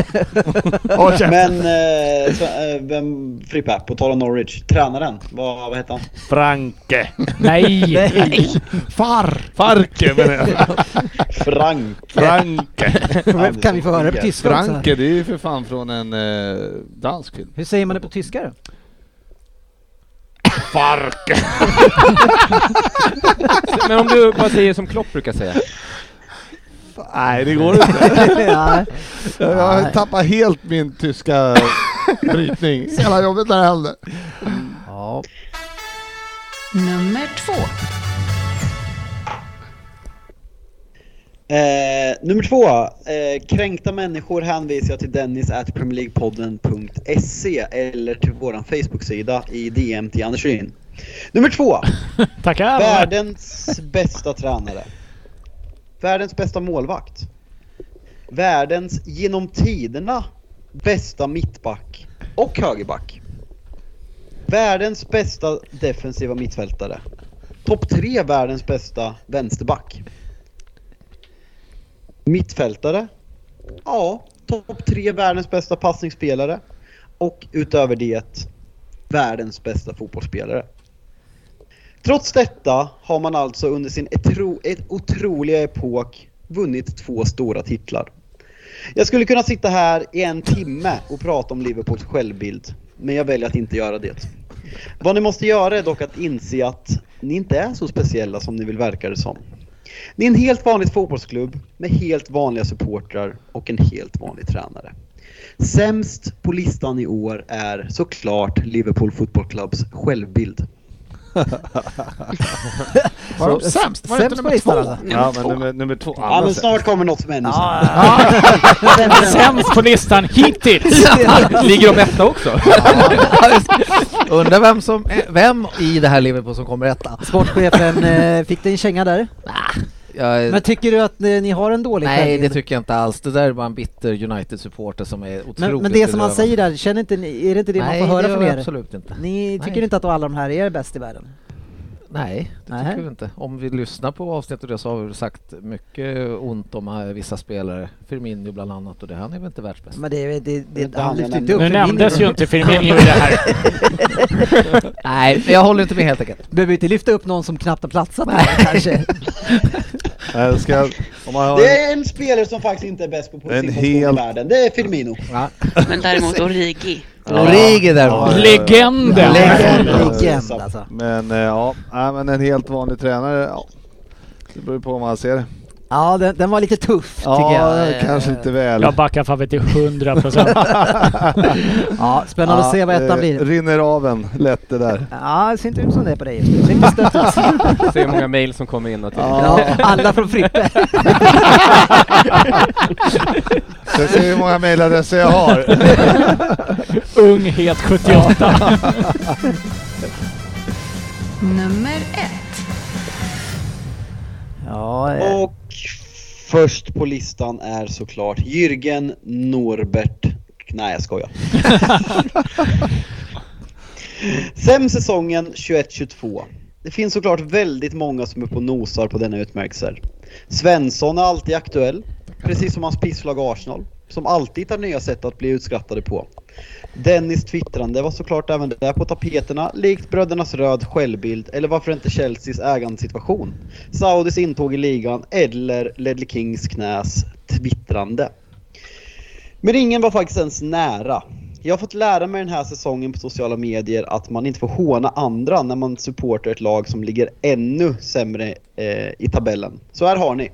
Håll käften. Men eh, så, eh, vem, Frippe, på tal om Norwich, tränaren, vad, vad hette han? Franke. Nej! Far! Farke menar jag. Frank. Franke. Andersson. Kan vi få höra det på tyska också? Franke, det är ju för fan från en eh, dansk film. Hur säger man det på tyska då? Farke. Men om du bara säger som Klopp brukar säga. Nej, det går inte. Nej. Jag, Nej. jag tappar helt min tyska brytning. Så jävla jobbigt när det händer. Ja. Nummer två. Eh, nummer två. Eh, kränkta människor hänvisar jag till Dennis at premierleaguepodden.se eller till våran Facebook-sida i DM till Anders Ryn. Nummer två. Tackar! Världens bästa tränare. Världens bästa målvakt. Världens genom tiderna bästa mittback och högerback. Världens bästa defensiva mittfältare. Topp tre världens bästa vänsterback. Mittfältare. Ja, topp tre världens bästa passningsspelare. Och utöver det, världens bästa fotbollsspelare. Trots detta har man alltså under sin etro, ett otroliga epok vunnit två stora titlar. Jag skulle kunna sitta här i en timme och prata om Liverpools självbild, men jag väljer att inte göra det. Vad ni måste göra är dock att inse att ni inte är så speciella som ni vill verka det som. Ni är en helt vanlig fotbollsklubb med helt vanliga supportrar och en helt vanlig tränare. Sämst på listan i år är såklart Liverpool Football Clubs självbild. Var de sämst? Var det inte nummer Sämst på två? listan alltså? Ja, men nummer, nummer två. Ja, men Annars- snart kommer något som är ännu sämre. Sämst på listan hittills! Ligger de etta också? Undrar vem, som, eh, vem i det här Liverpool som kommer etta? Sportchefen, eh, fick dig en känga där? Jag, Men tycker du att eh, ni, ni har en dålig nej, det självbild? tycker jag inte alls. Det där är bara en bitter United-supporter som är otroligt men, men det som han bedrövad. säger där, känner inte ni, är det inte det nej, man får höra det från gör jag er? absolut inte. Ni Nej. tycker inte att alla de här är bäst i världen? Nej, det Nej. tycker vi inte. Om vi lyssnar på avsnittet där så har vi väl sagt mycket ont om eh, vissa spelare. Firmino bland annat och det. Han är väl inte världsbäst? Men det, det, det, inte han han jag lyfter inte nämnde. Nu upp nämndes Firmino. ju inte Firmino i det här. Nej, jag håller inte med helt enkelt. Behöver ju inte lyfta upp någon som knappt har platsat där kanske. Nej, jag ska, om man har Det är en spelare som faktiskt inte är bäst på En hel- sin position i världen. Det är Firmino. Men däremot Origi. Origi Ja, däremot. ja, ja. Legenden! Legend, Ja, ja, ja. legend alltså. Men eh, ja, Nej, men en helt vanlig tränare, ja. Det beror på om man ser det. Ja, den, den var lite tuff tycker Ja, jag. eh, kanske inte väl. Jag backar Fabbe till 100 procent. Ja, spännande att se vad ettan eh, blir. Rinner av en lätt det där. Ja, det ser inte ut som det är på dig just nu. Ser inte stött ut. Se hur många mail som kommer in och till. Ja, alla från Frippe. Ska se hur många mejladresser jag har. Ung, het 78. Nummer ett. Ja, eh, Och först på listan är såklart Jürgen Norbert. Nej, jag skojar. Sen säsongen 21-22. Det finns såklart väldigt många som är på nosar på denna utmärkelser. Svensson är alltid aktuell, precis som hans pisslag Arsenal, som alltid hittar nya sätt att bli utskrattade på. Dennis twittrande var såklart även där på tapeterna, likt brödernas röd självbild eller varför inte Chelseas ägandesituation, Saudis intåg i ligan eller Ledley Kings knäs twittrande. Men ingen var faktiskt ens nära. Jag har fått lära mig den här säsongen på sociala medier att man inte får håna andra när man supportar ett lag som ligger ännu sämre eh, i tabellen. Så här har ni.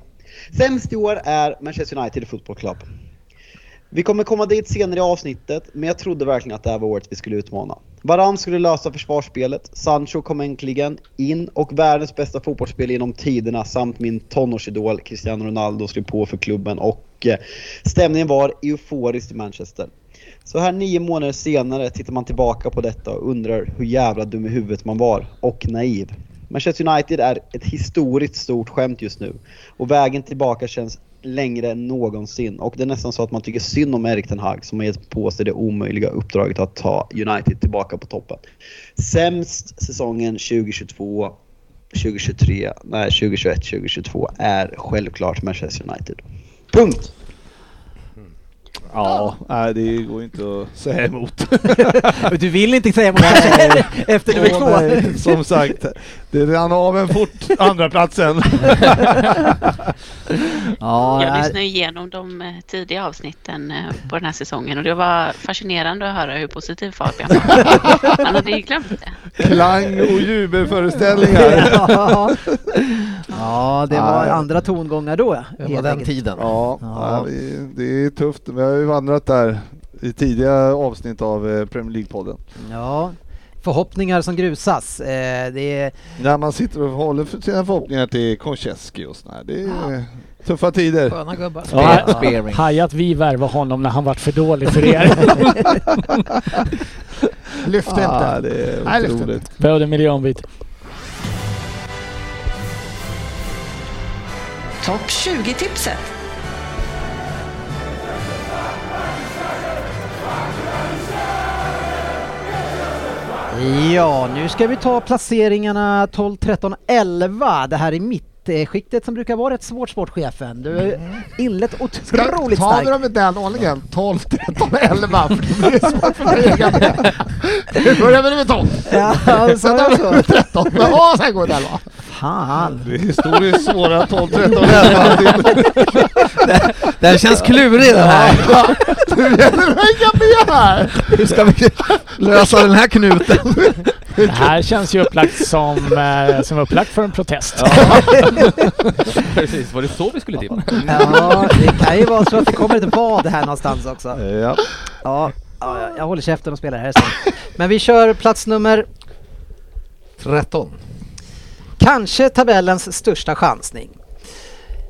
Sämst i år är Manchester United Football Club. Vi kommer komma dit senare i avsnittet, men jag trodde verkligen att det här var året vi skulle utmana. Varann skulle lösa försvarsspelet, Sancho kom äntligen in och världens bästa fotbollsspel genom tiderna samt min tonårsidol Cristiano Ronaldo skrev på för klubben och eh, stämningen var euforisk i Manchester. Så här nio månader senare tittar man tillbaka på detta och undrar hur jävla dum i huvudet man var och naiv. Manchester United är ett historiskt stort skämt just nu och vägen tillbaka känns längre än någonsin och det är nästan så att man tycker synd om Erik Ten Hag som har gett på sig det omöjliga uppdraget att ta United tillbaka på toppen. Sämst säsongen 2022, 2023, nej 2021, 2022 är självklart Manchester United. Punkt! Ja, nej, det går inte att säga emot. Du vill inte säga emot det efter nummer Åh, två. nej, Som sagt, det rann av en fort, andra platsen. Ja, Jag nej. lyssnade igenom de eh, tidiga avsnitten eh, på den här säsongen och det var fascinerande att höra hur positiv Fabian var. Han hade ju glömt det. Klang och jubelföreställningar. Ja. ja, det var Ja. andra tongångar då. Det var helt den enkelt. tiden. Ja, ja, vi- det är tufft. Vi har ju vandrat där i tidiga avsnitt av eh, Premier League-podden. Ja. Förhoppningar som grusas. Eh, det är, När man sitter och håller för sina förhoppningar till Konchesky och sådär. Det är eh, tuffa tider. Sköna gubbar. Ja. Spe- Spearing. Haj att vi värvade honom när han var för dålig för er. Lyft Ah, inte. det Nej, är lyft otroligt. Behövde en miljonbit. Topp 20-tipset. ja, nu ska vi ta placeringarna 12, 13, 11. Det här är mitt eh, skiktet som brukar vara rätt svårt sportchefen. Du har ju inlett otroligt Tar vi starkt. dem i den ordningen? 12, 13, 11. För det blir svårt för mig att hänga med. Nu börjar vi med 12. Ja, sa Sen jag tar så? alltså. vi 13. Och sen går det 11. Fan. Det är historiskt svåra 12, 13, 11. Den känns klurig den här. Nu gäller det att hänga med här. Hur ska vi lösa den här knuten? Det här känns ju upplagt som, eh, som upplagt för en protest. Precis, var det så vi skulle tippa? Ja, det kan ju vara så att det kommer ett vad här någonstans också. Ja. Ja, ja, jag- jag håller käften och spelar här sen. Men vi kör plats nummer, 13. kanske tabellens största chansning.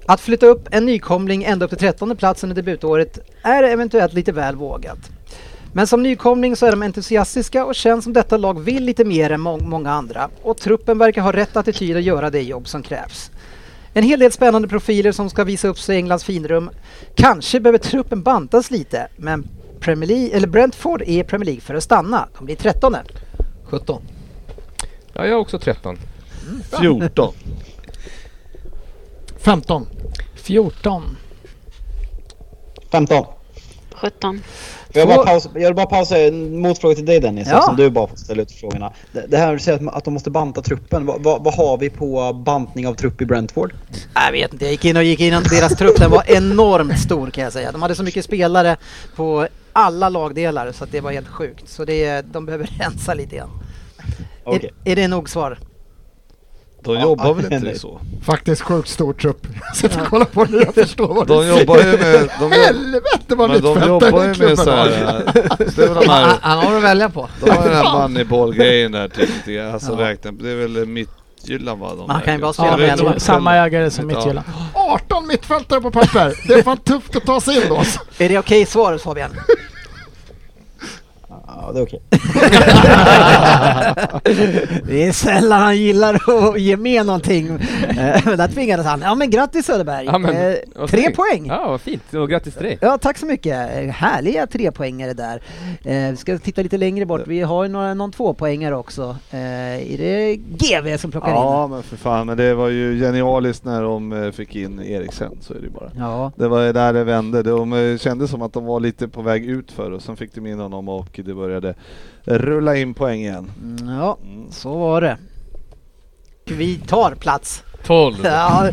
Att flytta upp en nykomling ända upp till 13 plats under debutåret är eventuellt lite väl vågat. Men som nykomling så är de entusiastiska och känns som detta lag vill lite mer än må- många andra och truppen verkar ha rätt attityd att göra det jobb som krävs. En hel del spännande profiler som ska visa upp sig i Englands finrum. Kanske behöver truppen bantas lite, men Premier League, eller Brentford är i Premier League för att stanna. De blir 13 17. Ja, jag har också 13. 14. 15. 14. 15. 17. Jag Två- vill bara pausa, jag vill bara pausa en motfråga till dig Dennis, Ja. eftersom du bara får ställa ut frågorna. Det, det här du säger att, att de måste banta truppen, vad, vad, vad har vi på bantning av trupp i Brentford? Jag vet inte, jag gick in och gick in och deras trupp den var enormt stor kan jag säga. De hade så mycket spelare på alla lagdelar så att det var helt sjukt. Så det, de behöver rensa lite igen. Okej. Är, är det nog svar? De jobbar väl ja, inte nej. så? Faktiskt sjukt stor trupp. Jag sitter och kollar på det. Jag förstår vad De du jobbar ju med... De jobb- Helvete vad men de jobbar ju med så här... Det är väl de här... Han, han har att välja på. De har den här Moneyball-grejen där tyckte jag. Alltså räkna, det är väl Midtjylland va? De Man kan ju äger. bara spela Ja, Eller med Nordsjälland. en. samma ägare som Ja. Midtjylland. 18 mittfältare på papper. Det är fan tufft att ta sig in då. alltså. Är det okej svar Fabian? Ja, det är okej. Det är sällan han gillar att ge med någonting. Eh, Men där tvingades han. Ja men grattis Söderberg! Ja, men, Eh, vad tre snyggt. poäng! Ja, vad fint. Och grattis till dig. Ja, tack så mycket. Eh, Härliga trepoängare där. Eh, vi ska titta lite längre bort. Vi har ju några, någon tvåpoängare också. Eh, är det GV som plockar Ja men för fan, men det var ju genialiskt när de eh, fick in Eriksen, så är det ju bara. in? Ja. Det var ju där det vände. De eh, kände som att de var lite på väg ut för och sen fick de in honom och det började rulla in poäng igen. Mm, ja, Mm. så var det. Vi tar plats. 12. Ja.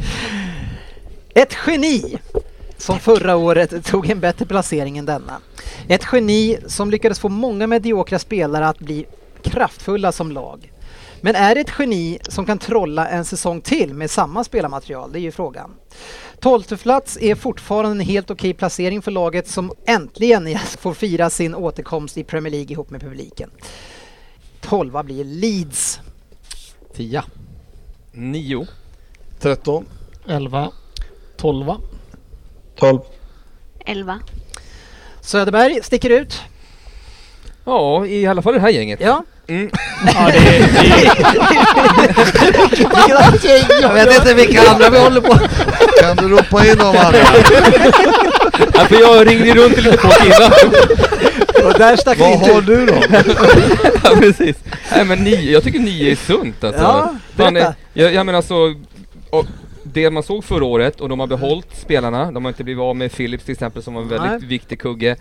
Ett geni som förra året tog en bättre placering än denna. Ett geni som lyckades få många mediokra spelare att bli kraftfulla som lag. Men är det ett geni som kan trolla en säsong till med samma spelarmaterial? Det är ju frågan. Tolfte plats är fortfarande en helt okej placering för laget som äntligen får fira sin återkomst i Premier League ihop med publiken. Tolva blir Leeds. 10, 9. 13, 11, 12. 12. 11. Söderberg sticker ut. Ja, i alla fall det här gänget. Ja. Mm. Ja, det är, det är, Jag vet inte vilka andra vi håller på Kan du ropa in de andra? Ja, för jag ringde runt till lite folk innan. Och där stack Vad inte har ut. du då? ja, precis. Nej men nio, jag tycker nio är sunt alltså. Ja, Fan, berätta. eh, jag, jag menar så, och det man såg förra året och de har behållit spelarna, de har inte blivit av med Philips till exempel som var en väldigt Nej. viktig kugge.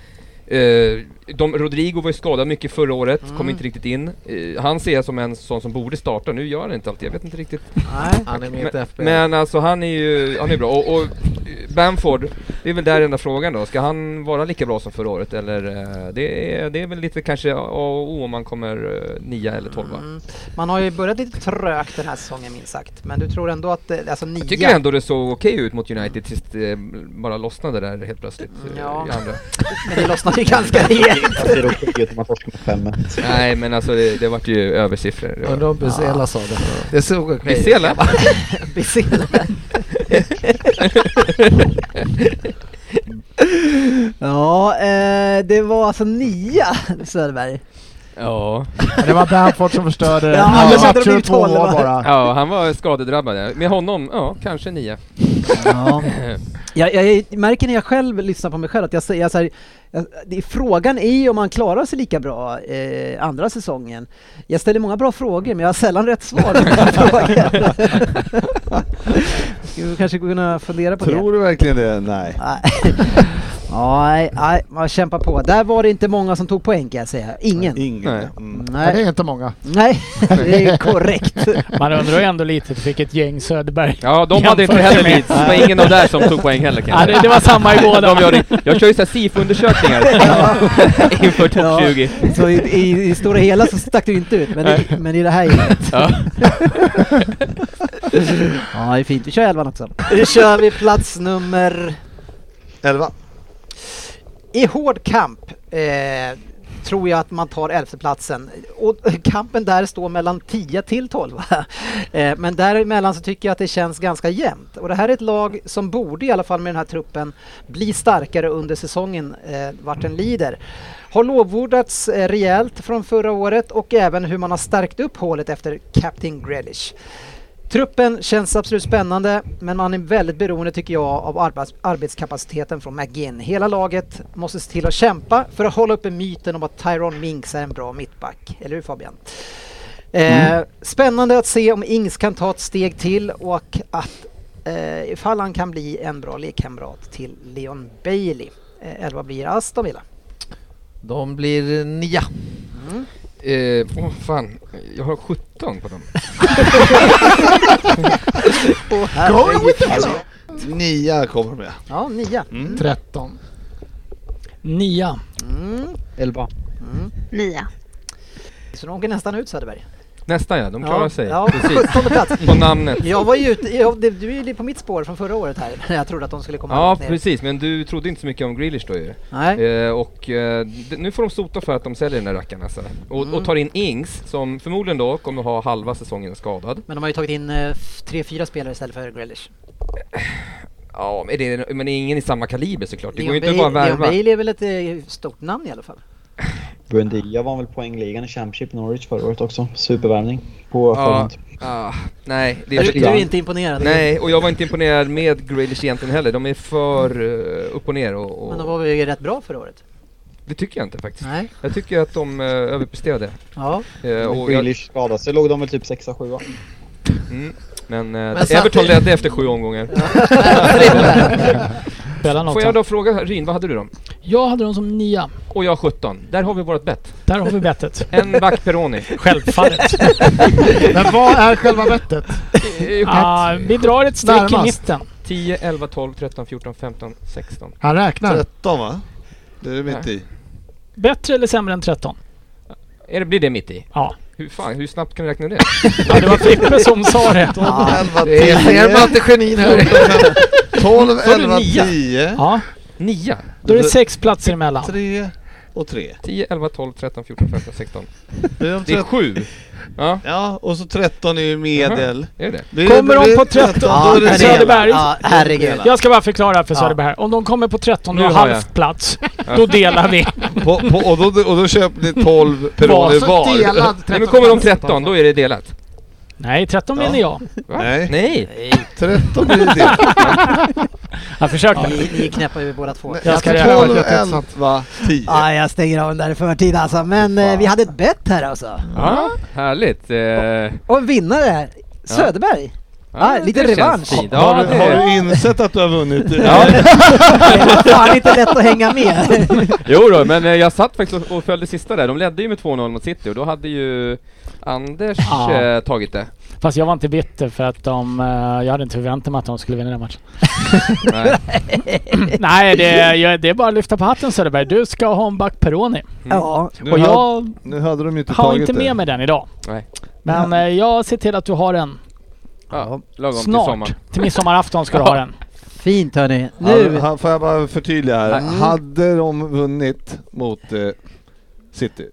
Eh, de, Rodrigo var ju skadad mycket förra året, Mm. kom inte riktigt in. Eh, han ser jag som en sån som borde starta, nu gör han inte alltid, jag vet inte riktigt. Nej. Han är med i ett Men, FBL. men alltså han är ju, han är bra. Och, och eh, Bamford, det är väl där enda frågan då. Ska han vara lika bra som förra året eller? eh, Det är, det är väl lite kanske A och O om man kommer eh, nia eller tolva. Mm. Man har ju börjat lite trögt den här säsongen minst sagt. Men du tror ändå att, eh, alltså Jag nio... tycker ändå det såg okej ut mot United tills det bara lossnade där helt plötsligt. eh, Ja. I andra. Men det lossnade ju ganska rejält. Jag ser också att man torskar med 5 Nej men alltså det, det vart ju översiffror. Det var- Undrar om Busela sa det. Det såg okej ut. Bisela? Bizela. ja, eh, det var alltså nia Söderberg. Ja. Det var Bamford som förstörde Ja, alla annars hade det matcher och blivit två tolv, mål va? bara. ja, han var skadedrabbad. ja. Med honom, ja kanske nia. Ja. Jag, jag, jag märker när jag själv lyssnar på mig själv att jag säger så här, jag, det, är- Frågan är ju om man klarar sig lika bra eh, andra säsongen. Jag ställer många bra frågor men jag har sällan rätt svar på mina frågor. Skulle vi kanske kunna fundera på det. Tror du verkligen det? Nej. Nej. Nej, nej, man kämpar på. Där var det inte många som tog poäng kan jag säga. Ingen. Ingen. Nej. Mm. Ja, det Nej, är inte många. nej det är korrekt. Man undrar ju ändå lite vilket gäng Söderberg... Ja, de hade inte Jämfört heller med- Leeds. Det var ingen av där som tog poäng heller Ja, kanske. det, det var samma i båda. De gör det. Jag kör ju såhär SIFO-undersökningar inför Ja. topp 20. Så i, i, i stora hela så stack du inte ut, men i, men i det här gänget. Ja. Ja, det är fint. Vi kör elvan också. Nu kör vi plats nummer... Elva. I hård kamp eh, tror jag att man tar elfteplatsen. Och kampen där står mellan 10 till 12. eh, men däremellan så tycker jag att det känns ganska jämnt. Och det här är ett lag som borde, i alla fall med den här truppen, bli starkare under säsongen eh, vart den lider. Har lovordats eh, rejält från förra året och även hur man har stärkt upp hålet efter Captain Grealish. Truppen känns absolut spännande men man är väldigt beroende tycker jag av arbets- arbetskapaciteten från McGinn. Hela laget måste se till att kämpa för att hålla uppe myten om att Tyrone Minks är en bra mittback. Eller hur Fabian? Eh, spännande att se om Ings kan ta ett steg till och att eh, ifall han kan bli en bra lekkamrat till Leon Bailey. Eh, Eller vad blir Aston Villa? De blir nia. Mm. Eh, Åh fan, jag har 17 på dem. Åh, herregud. Alltså. Nia kommer med. ja, nia. Mm. Mm. 13. Nia. Mm. 11. 9. Så de åker nästan ut Söderberg. Nästan ja, de klarar sig. Ja, Precis. 17 plats. På namnet. Jag var ju ute, jag, det- du är ju lite på mitt spår från förra året här, när jag trodde att de skulle komma Ja långt ner. precis, men du trodde inte så mycket om Grealish då ju. Nej. Eh, och eh, d- nu får de sota för att de säljer den där rackaren alltså. och, Mm. och tar in Ings, som förmodligen då kommer ha halva säsongen skadad. Men de har ju tagit in eh, f- tre, fyra spelare istället för Grealish. Ja, men det är, men det är ingen i samma kaliber såklart. Det går Leon ju inte att bara Bailey- Leon värva. Bailey är väl ett eh, stort namn i alla fall? Buendia vann väl poängligan i Championship i Norwich förra året också. Supervärvning på Ja, ja. ah, nej, det är Du, för lite du är grann. inte imponerad? Nej, och jag var inte imponerad med Grealish egentligen heller. De är för eh, upp och ner och, Men de och var ju rätt bra förra året? det tycker jag inte faktiskt. Nej. Jag tycker att de eh, överpresterade. Ja. Eh, och jag, Grealish skadade sig låg de väl typ 6-7 mm, men eh, Men så Everton att det- ledde efter sju omgångar. Spelar något Får jag då fråga Ryn, vad hade du då? jag hade dem som nia. Och jag 17. Där har vi vårt bett. Där har vi bettet. En back Peroni. Självfallet. Men vad är själva bettet? Ah, vi drar ett streck i Närmast. mitten. 10, 11, 12, 13, 14, 15, 16. Han räknar. 13 va? Det är du mitt i. Bättre eller sämre än 13? Är det, blir det mitt i? Ja. Hur fan, hur snabbt kan du räkna det? Ja, det var Frippe som sa det. Det är fler mattegenin här. 12, Sa du nia? Ja. Nia? Då är det sex platser emellan. Tre och tre. 10, 11, 12, 13, 14, 15, 16. Det är, Det är sju. Ja. Ja, och så 13 är ju medel. Jaha, är det? Då är Kommer då de blir på det 13, 13, då är det Söderberg. hela. Ja, herregud. Jag ska bara förklara för Ja. Söderberg här. Om de kommer på 13 Nu och har halv jag. plats, då delar vi. På, på, och, då, och då köper ni 12 Var. Alltså, peroner Så var. delad Men nu kommer de 13, då är det delat. Nej, 13 Ja. vinner jag. Va? Nej. Nej. 13 blir det. Jag försökte. Ja, ni, ni är knäppa över båda två. Nej, Jag ska tolv, göra det. elva, Ja, jag stänger av den där i förtid alltså. Men eh, vi hade ett bett här alltså. Ja, härligt. Eh, Och en vinnare, Söderberg. Ja, lite det känns revansch. fint. Ja, Har, det- du- har du insett att du har vunnit? Ja. Det är fan inte lätt att hänga med. Jo då, men eh, jag satt faktiskt och, och följde sista där. De ledde ju med 2-0 mot City och då hade ju Anders Ja. eh, tagit det. Fast jag var inte bitter för att de... eh, jag hade inte förväntat mig att de skulle vinna den matchen. Nej. Nej, det, jag, det är bara att lyfta på hatten Söderberg. Du ska ha en back Peroni. Ja. Nu, Och hade- jag nu hade de ju inte har tagit inte med det. mig den idag. Nej. Men eh, jag ser till att du har den. Ja, lagom till Snart. sommaren. Till midsommarafton ska du ha den. Fint hörni. Han, Nu. han, får jag bara förtydliga här. Nej. Mm. Hade de vunnit mot eh, City,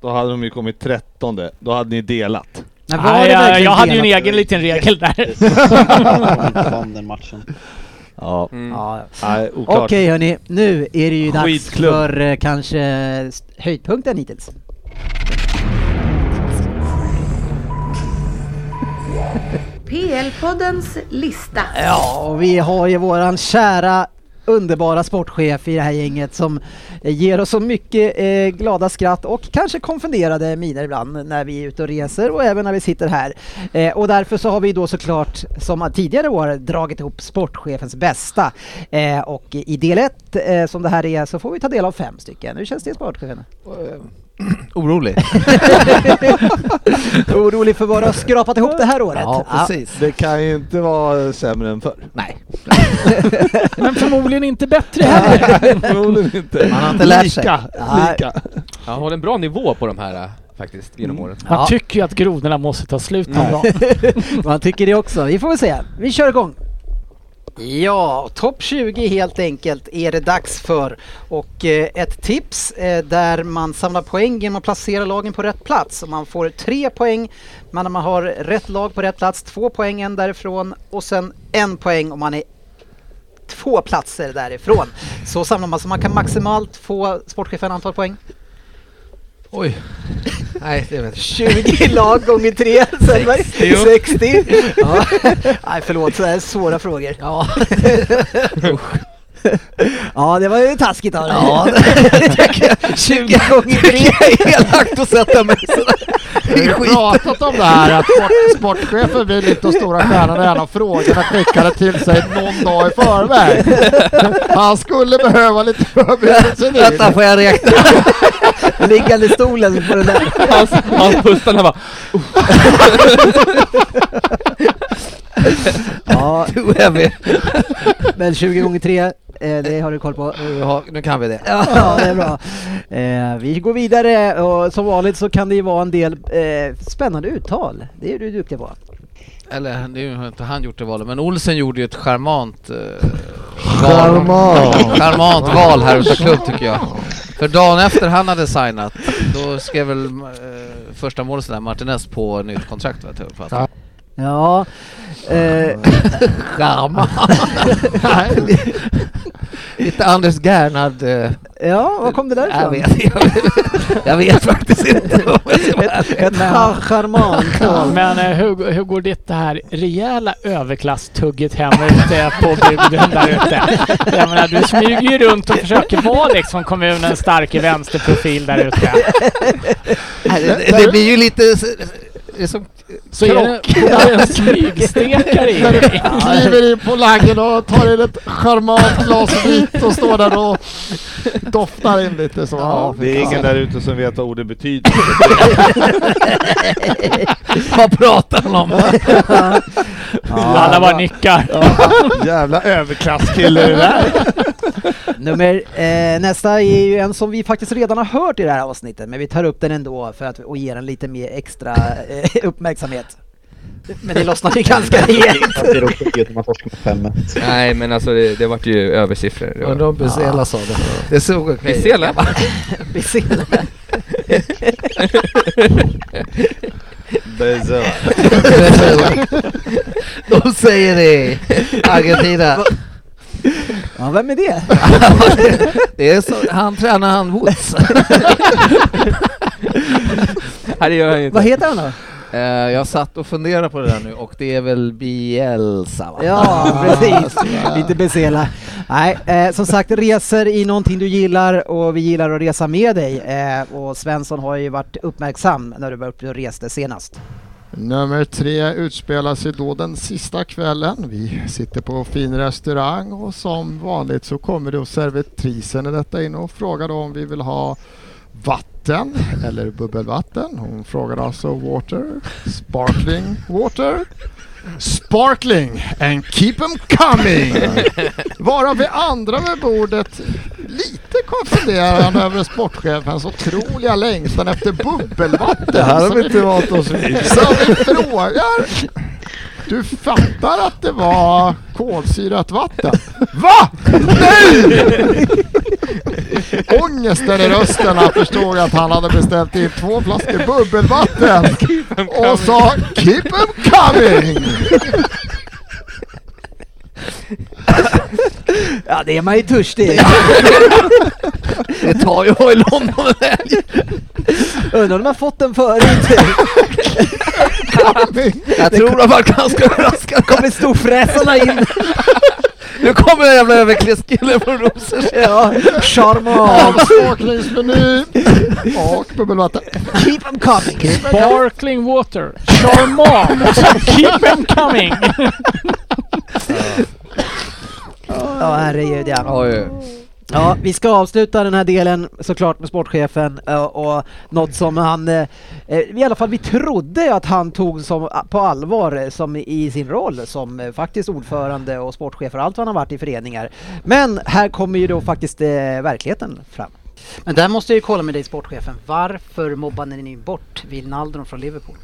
då hade de ju kommit trettonde. Då hade ni delat. Men var Nej, det jag, verkligen jag hade ju en delat? egen liten regel där. vann den matchen. Ja. Mm. Ja, ja. Nej, oklart. Okej hörni, nu är det ju dags Skitklubb. för eh, kanske st- höjdpunkten hittills. PL-poddens lista. Ja, och vi har ju våran kära underbara sportchef i det här gänget som ger oss så mycket eh, glada skratt och kanske konfunderade miner ibland när vi är ute och reser och även när vi sitter här. Eh, och därför så har vi då såklart som tidigare år dragit ihop sportchefens bästa. Eh, och i del ett eh, som det här är så får vi ta del av fem stycken. Hur känns det sportchefen? Eh, Orolig. Orolig för vad du har skrapat ihop det här året? Ja, precis. Det kan ju inte vara sämre än förr. Nej. Men förmodligen inte bättre heller. Förmodligen inte. Man har inte lärt sig. Lika. Nej. Lika. Jag har en bra nivå på de här eh, faktiskt genom åren. Jag Ja. tycker ju att grodorna måste ta slut Mm. någon dag. Man tycker det också. Vi får väl se. Vi kör igång. Ja, topp 20 helt enkelt är det dags för. Och eh, ett tips eh, där man samlar poäng genom att placera lagen på rätt plats. Och man får tre poäng men när man har rätt lag på rätt plats, två poäng en därifrån och sen en poäng om man är två platser därifrån. Så samlar man så man kan maximalt få sportchefen antal poäng. Oj. Nej, det vet jag 20 lag gånger 3, Söderberg. 60. Ja. Nej, förlåt, så här svåra frågor. Ja. Ja, det var ju taskigt av dig. Ja. 20 gånger 3 är elakt att sätta mig Vi har ju pratat om det här att sport, sportchefen blir lite av stora stjärnan när han har frågorna skickade till sig någon dag i förväg. Han skulle behöva lite förberedelse nu. Vänta, får jag räkna? Liggande i stolen på den där. Hans, hans pustarna bara... Ja, inte. Jag vet. men 20 gånger 3, det har du koll på. Nu har- Nu kan vi det. Ja, det är bra. Eh, vi går vidare och som vanligt så kan det ju vara en del eh, spännande uttal. Det är du duktig på. Eller han- det är ju- har inte han gjort det valet, men Olsen gjorde ju ett charmant eh, Charmant. val. charmant val här utav klubb tycker jag. För dagen efter han hade signat, då skrev väl eh, första målet sådär Martinez på nytt kontrakt vet jag Ja. fattar. Ja, eh, Charmant! Lite Anders Gernad... eh, ja vad kom det där jag, ifrån? vet, jag, vet, jag vet faktiskt inte. om jag ska vara ärlig. Ett char- charmant tal. Men eh, hur, hur går det här rejäla överklasstugget hem ute på bygden där ute? Jag menar, du smyger ju runt och försöker vara liksom kommunens starka vänsterprofil där ute. det, det blir ju lite... s- Det är som Så är det, det är en smygstekare i När du dig. kliver in på laggen och tar in ett charmant glas vitt och står där och doftar in lite så. Ja, Det är ingen där ute som vet vad ordet betyder. Vad pratar han om? Alla bara nickar. Jävla överklasskille det där. Nummer, eh, nästa är ju en som vi faktiskt redan har hört i det här avsnittet, men vi tar upp den ändå för att och ger den lite mer extra eh, uppmärksamhet. Men det lossnar ju ganska rejält. Nej men alltså det, det vart ju översiffror. Det var- Undrar om Buzela sa det. Det såg okej ut. Bizela? Bizela. Bezela. De säger det i Argentina. Ja, vem är det? Det är så, han tränar han Woods. Nej det gör jag inte. Vad heter han då? Eh, jag satt och funderade på det där nu och det är väl Bielsa va? Ja, precis. Lite besela. Nej, eh, som sagt, resor i någonting du gillar och vi gillar att resa med dig. Eh, och Svensson har ju varit uppmärksam när du var uppe och reste senast. Nummer tre utspelar sig då den sista kvällen. Vi sitter på fin restaurang och som vanligt så kommer då servitrisen i detta in och frågar då om vi vill ha vatten eller bubbelvatten. Hon frågar alltså water, sparkling water. Sparkling and keep 'em coming! Varav vi andra vid bordet lite konfunderade över sportchefens otroliga längtan efter bubbelvatten. Det här har som vi inte vant oss vid. så vi frågar. Du fattar att det var kolsyrat vatten? Va? Nej! Ångesten i rösten. Han förstod att han hade beställt in två flaskor bubbelvatten. Och sa Keep 'em coming! Ja, det är man ju törstig i. Det tar jag i London en helg. Undrar om de har fått den förut. coming. Jag tror de var ganska överraskade. Kommer storfräsarna in. Nu kommer den jävla överklädskillen från Rosers. Ja, charmant. Avsmakningsmeny och bubbelvatten. Keep them coming. Sparkling water. Charmant. Keep them coming. Ja, herregud ja. Oj. Ja, vi ska avsluta den här delen såklart med sportchefen eh, och något som han, eh, eh, i alla fall vi trodde att han tog som, på allvar eh, som i sin roll som eh, faktiskt ordförande och sportchef för allt vad han har varit i föreningar. Men här kommer ju då faktiskt eh, verkligheten fram. Men där måste jag ju kolla med dig sportchefen, varför mobbade ni bort Wijnaldum från Liverpool?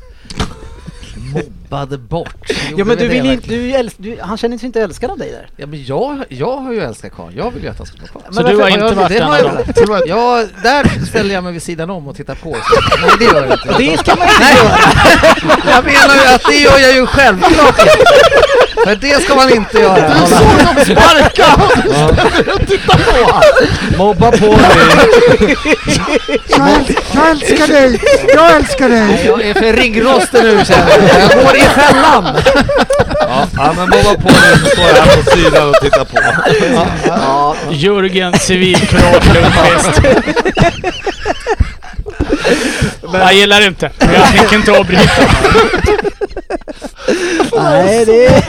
Mobbade bort. Ja Gjorde men vi du det vill verkligen? inte, du, äls- du, han känner sig inte älskad av dig där. Ja, men jag, jag har ju älskat Karl. Jag vill ju att han ska vara kvar. Så du har inte varit det en har av jag dem? väl. Ja, där ställer jag mig vid sidan om och tittar på. Nej, det gör jag inte. Det ska man inte Nej, göra! jag menar ju att det gör jag ju självklart inte. För det ska man inte göra. Du såg dem sparka! Mobba på dig. Jag, äl- jag älskar dig! Jag älskar Nej, dig! jag är för ringrostig nu känner jag. Jag går i fällan. Ja, ja men mobba på dig så står jag här på sidan och tittar på. Jörgen Civilkurage Lundqvist. Jag gillar inte. Jag tänker inte avbryta. Nej, det...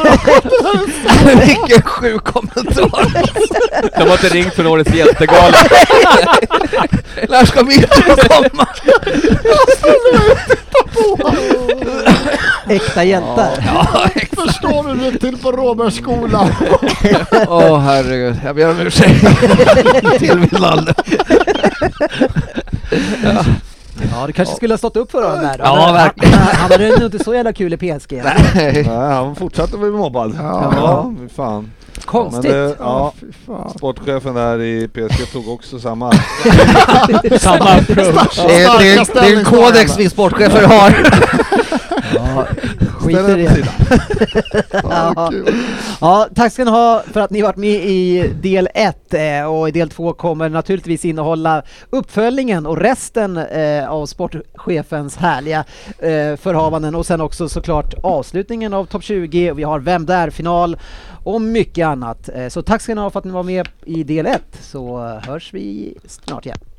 Vilken sjuk kommentar. De har inte ringt från årets hjältegala. När ska Mitro komma? Äkta hjältar. Förstår du det till på Råbergsskolan? Åh herregud, jag ber om ursäkt. Till Wilander. Ja, du kanske skulle ha stått upp för honom där. då. Ja, Han- verkligen. Han han hade nog inte så jävla kul i PSG. Nej. Nej, han fortsatte bli mobbad. Ja. ja fy fan. Konstigt. Men det, ja, Fy fan. sportchefen där i PSG tog också samma. Samma approach. Det är, det, är, det är en kodex vi sportchefer har. Skit i Ställ den åt det. sidan. Ja. Ja, tack ska ni ha för att ni varit med i del 1 och i del 2 kommer naturligtvis innehålla uppföljningen och resten eh, av sportchefens härliga eh, förhavanden och sen också såklart avslutningen av topp 20 och vi har Vem där-final och mycket annat. Eh, Så tack ska ni ha för att ni var med i del 1 så hörs eh, vi snart igen.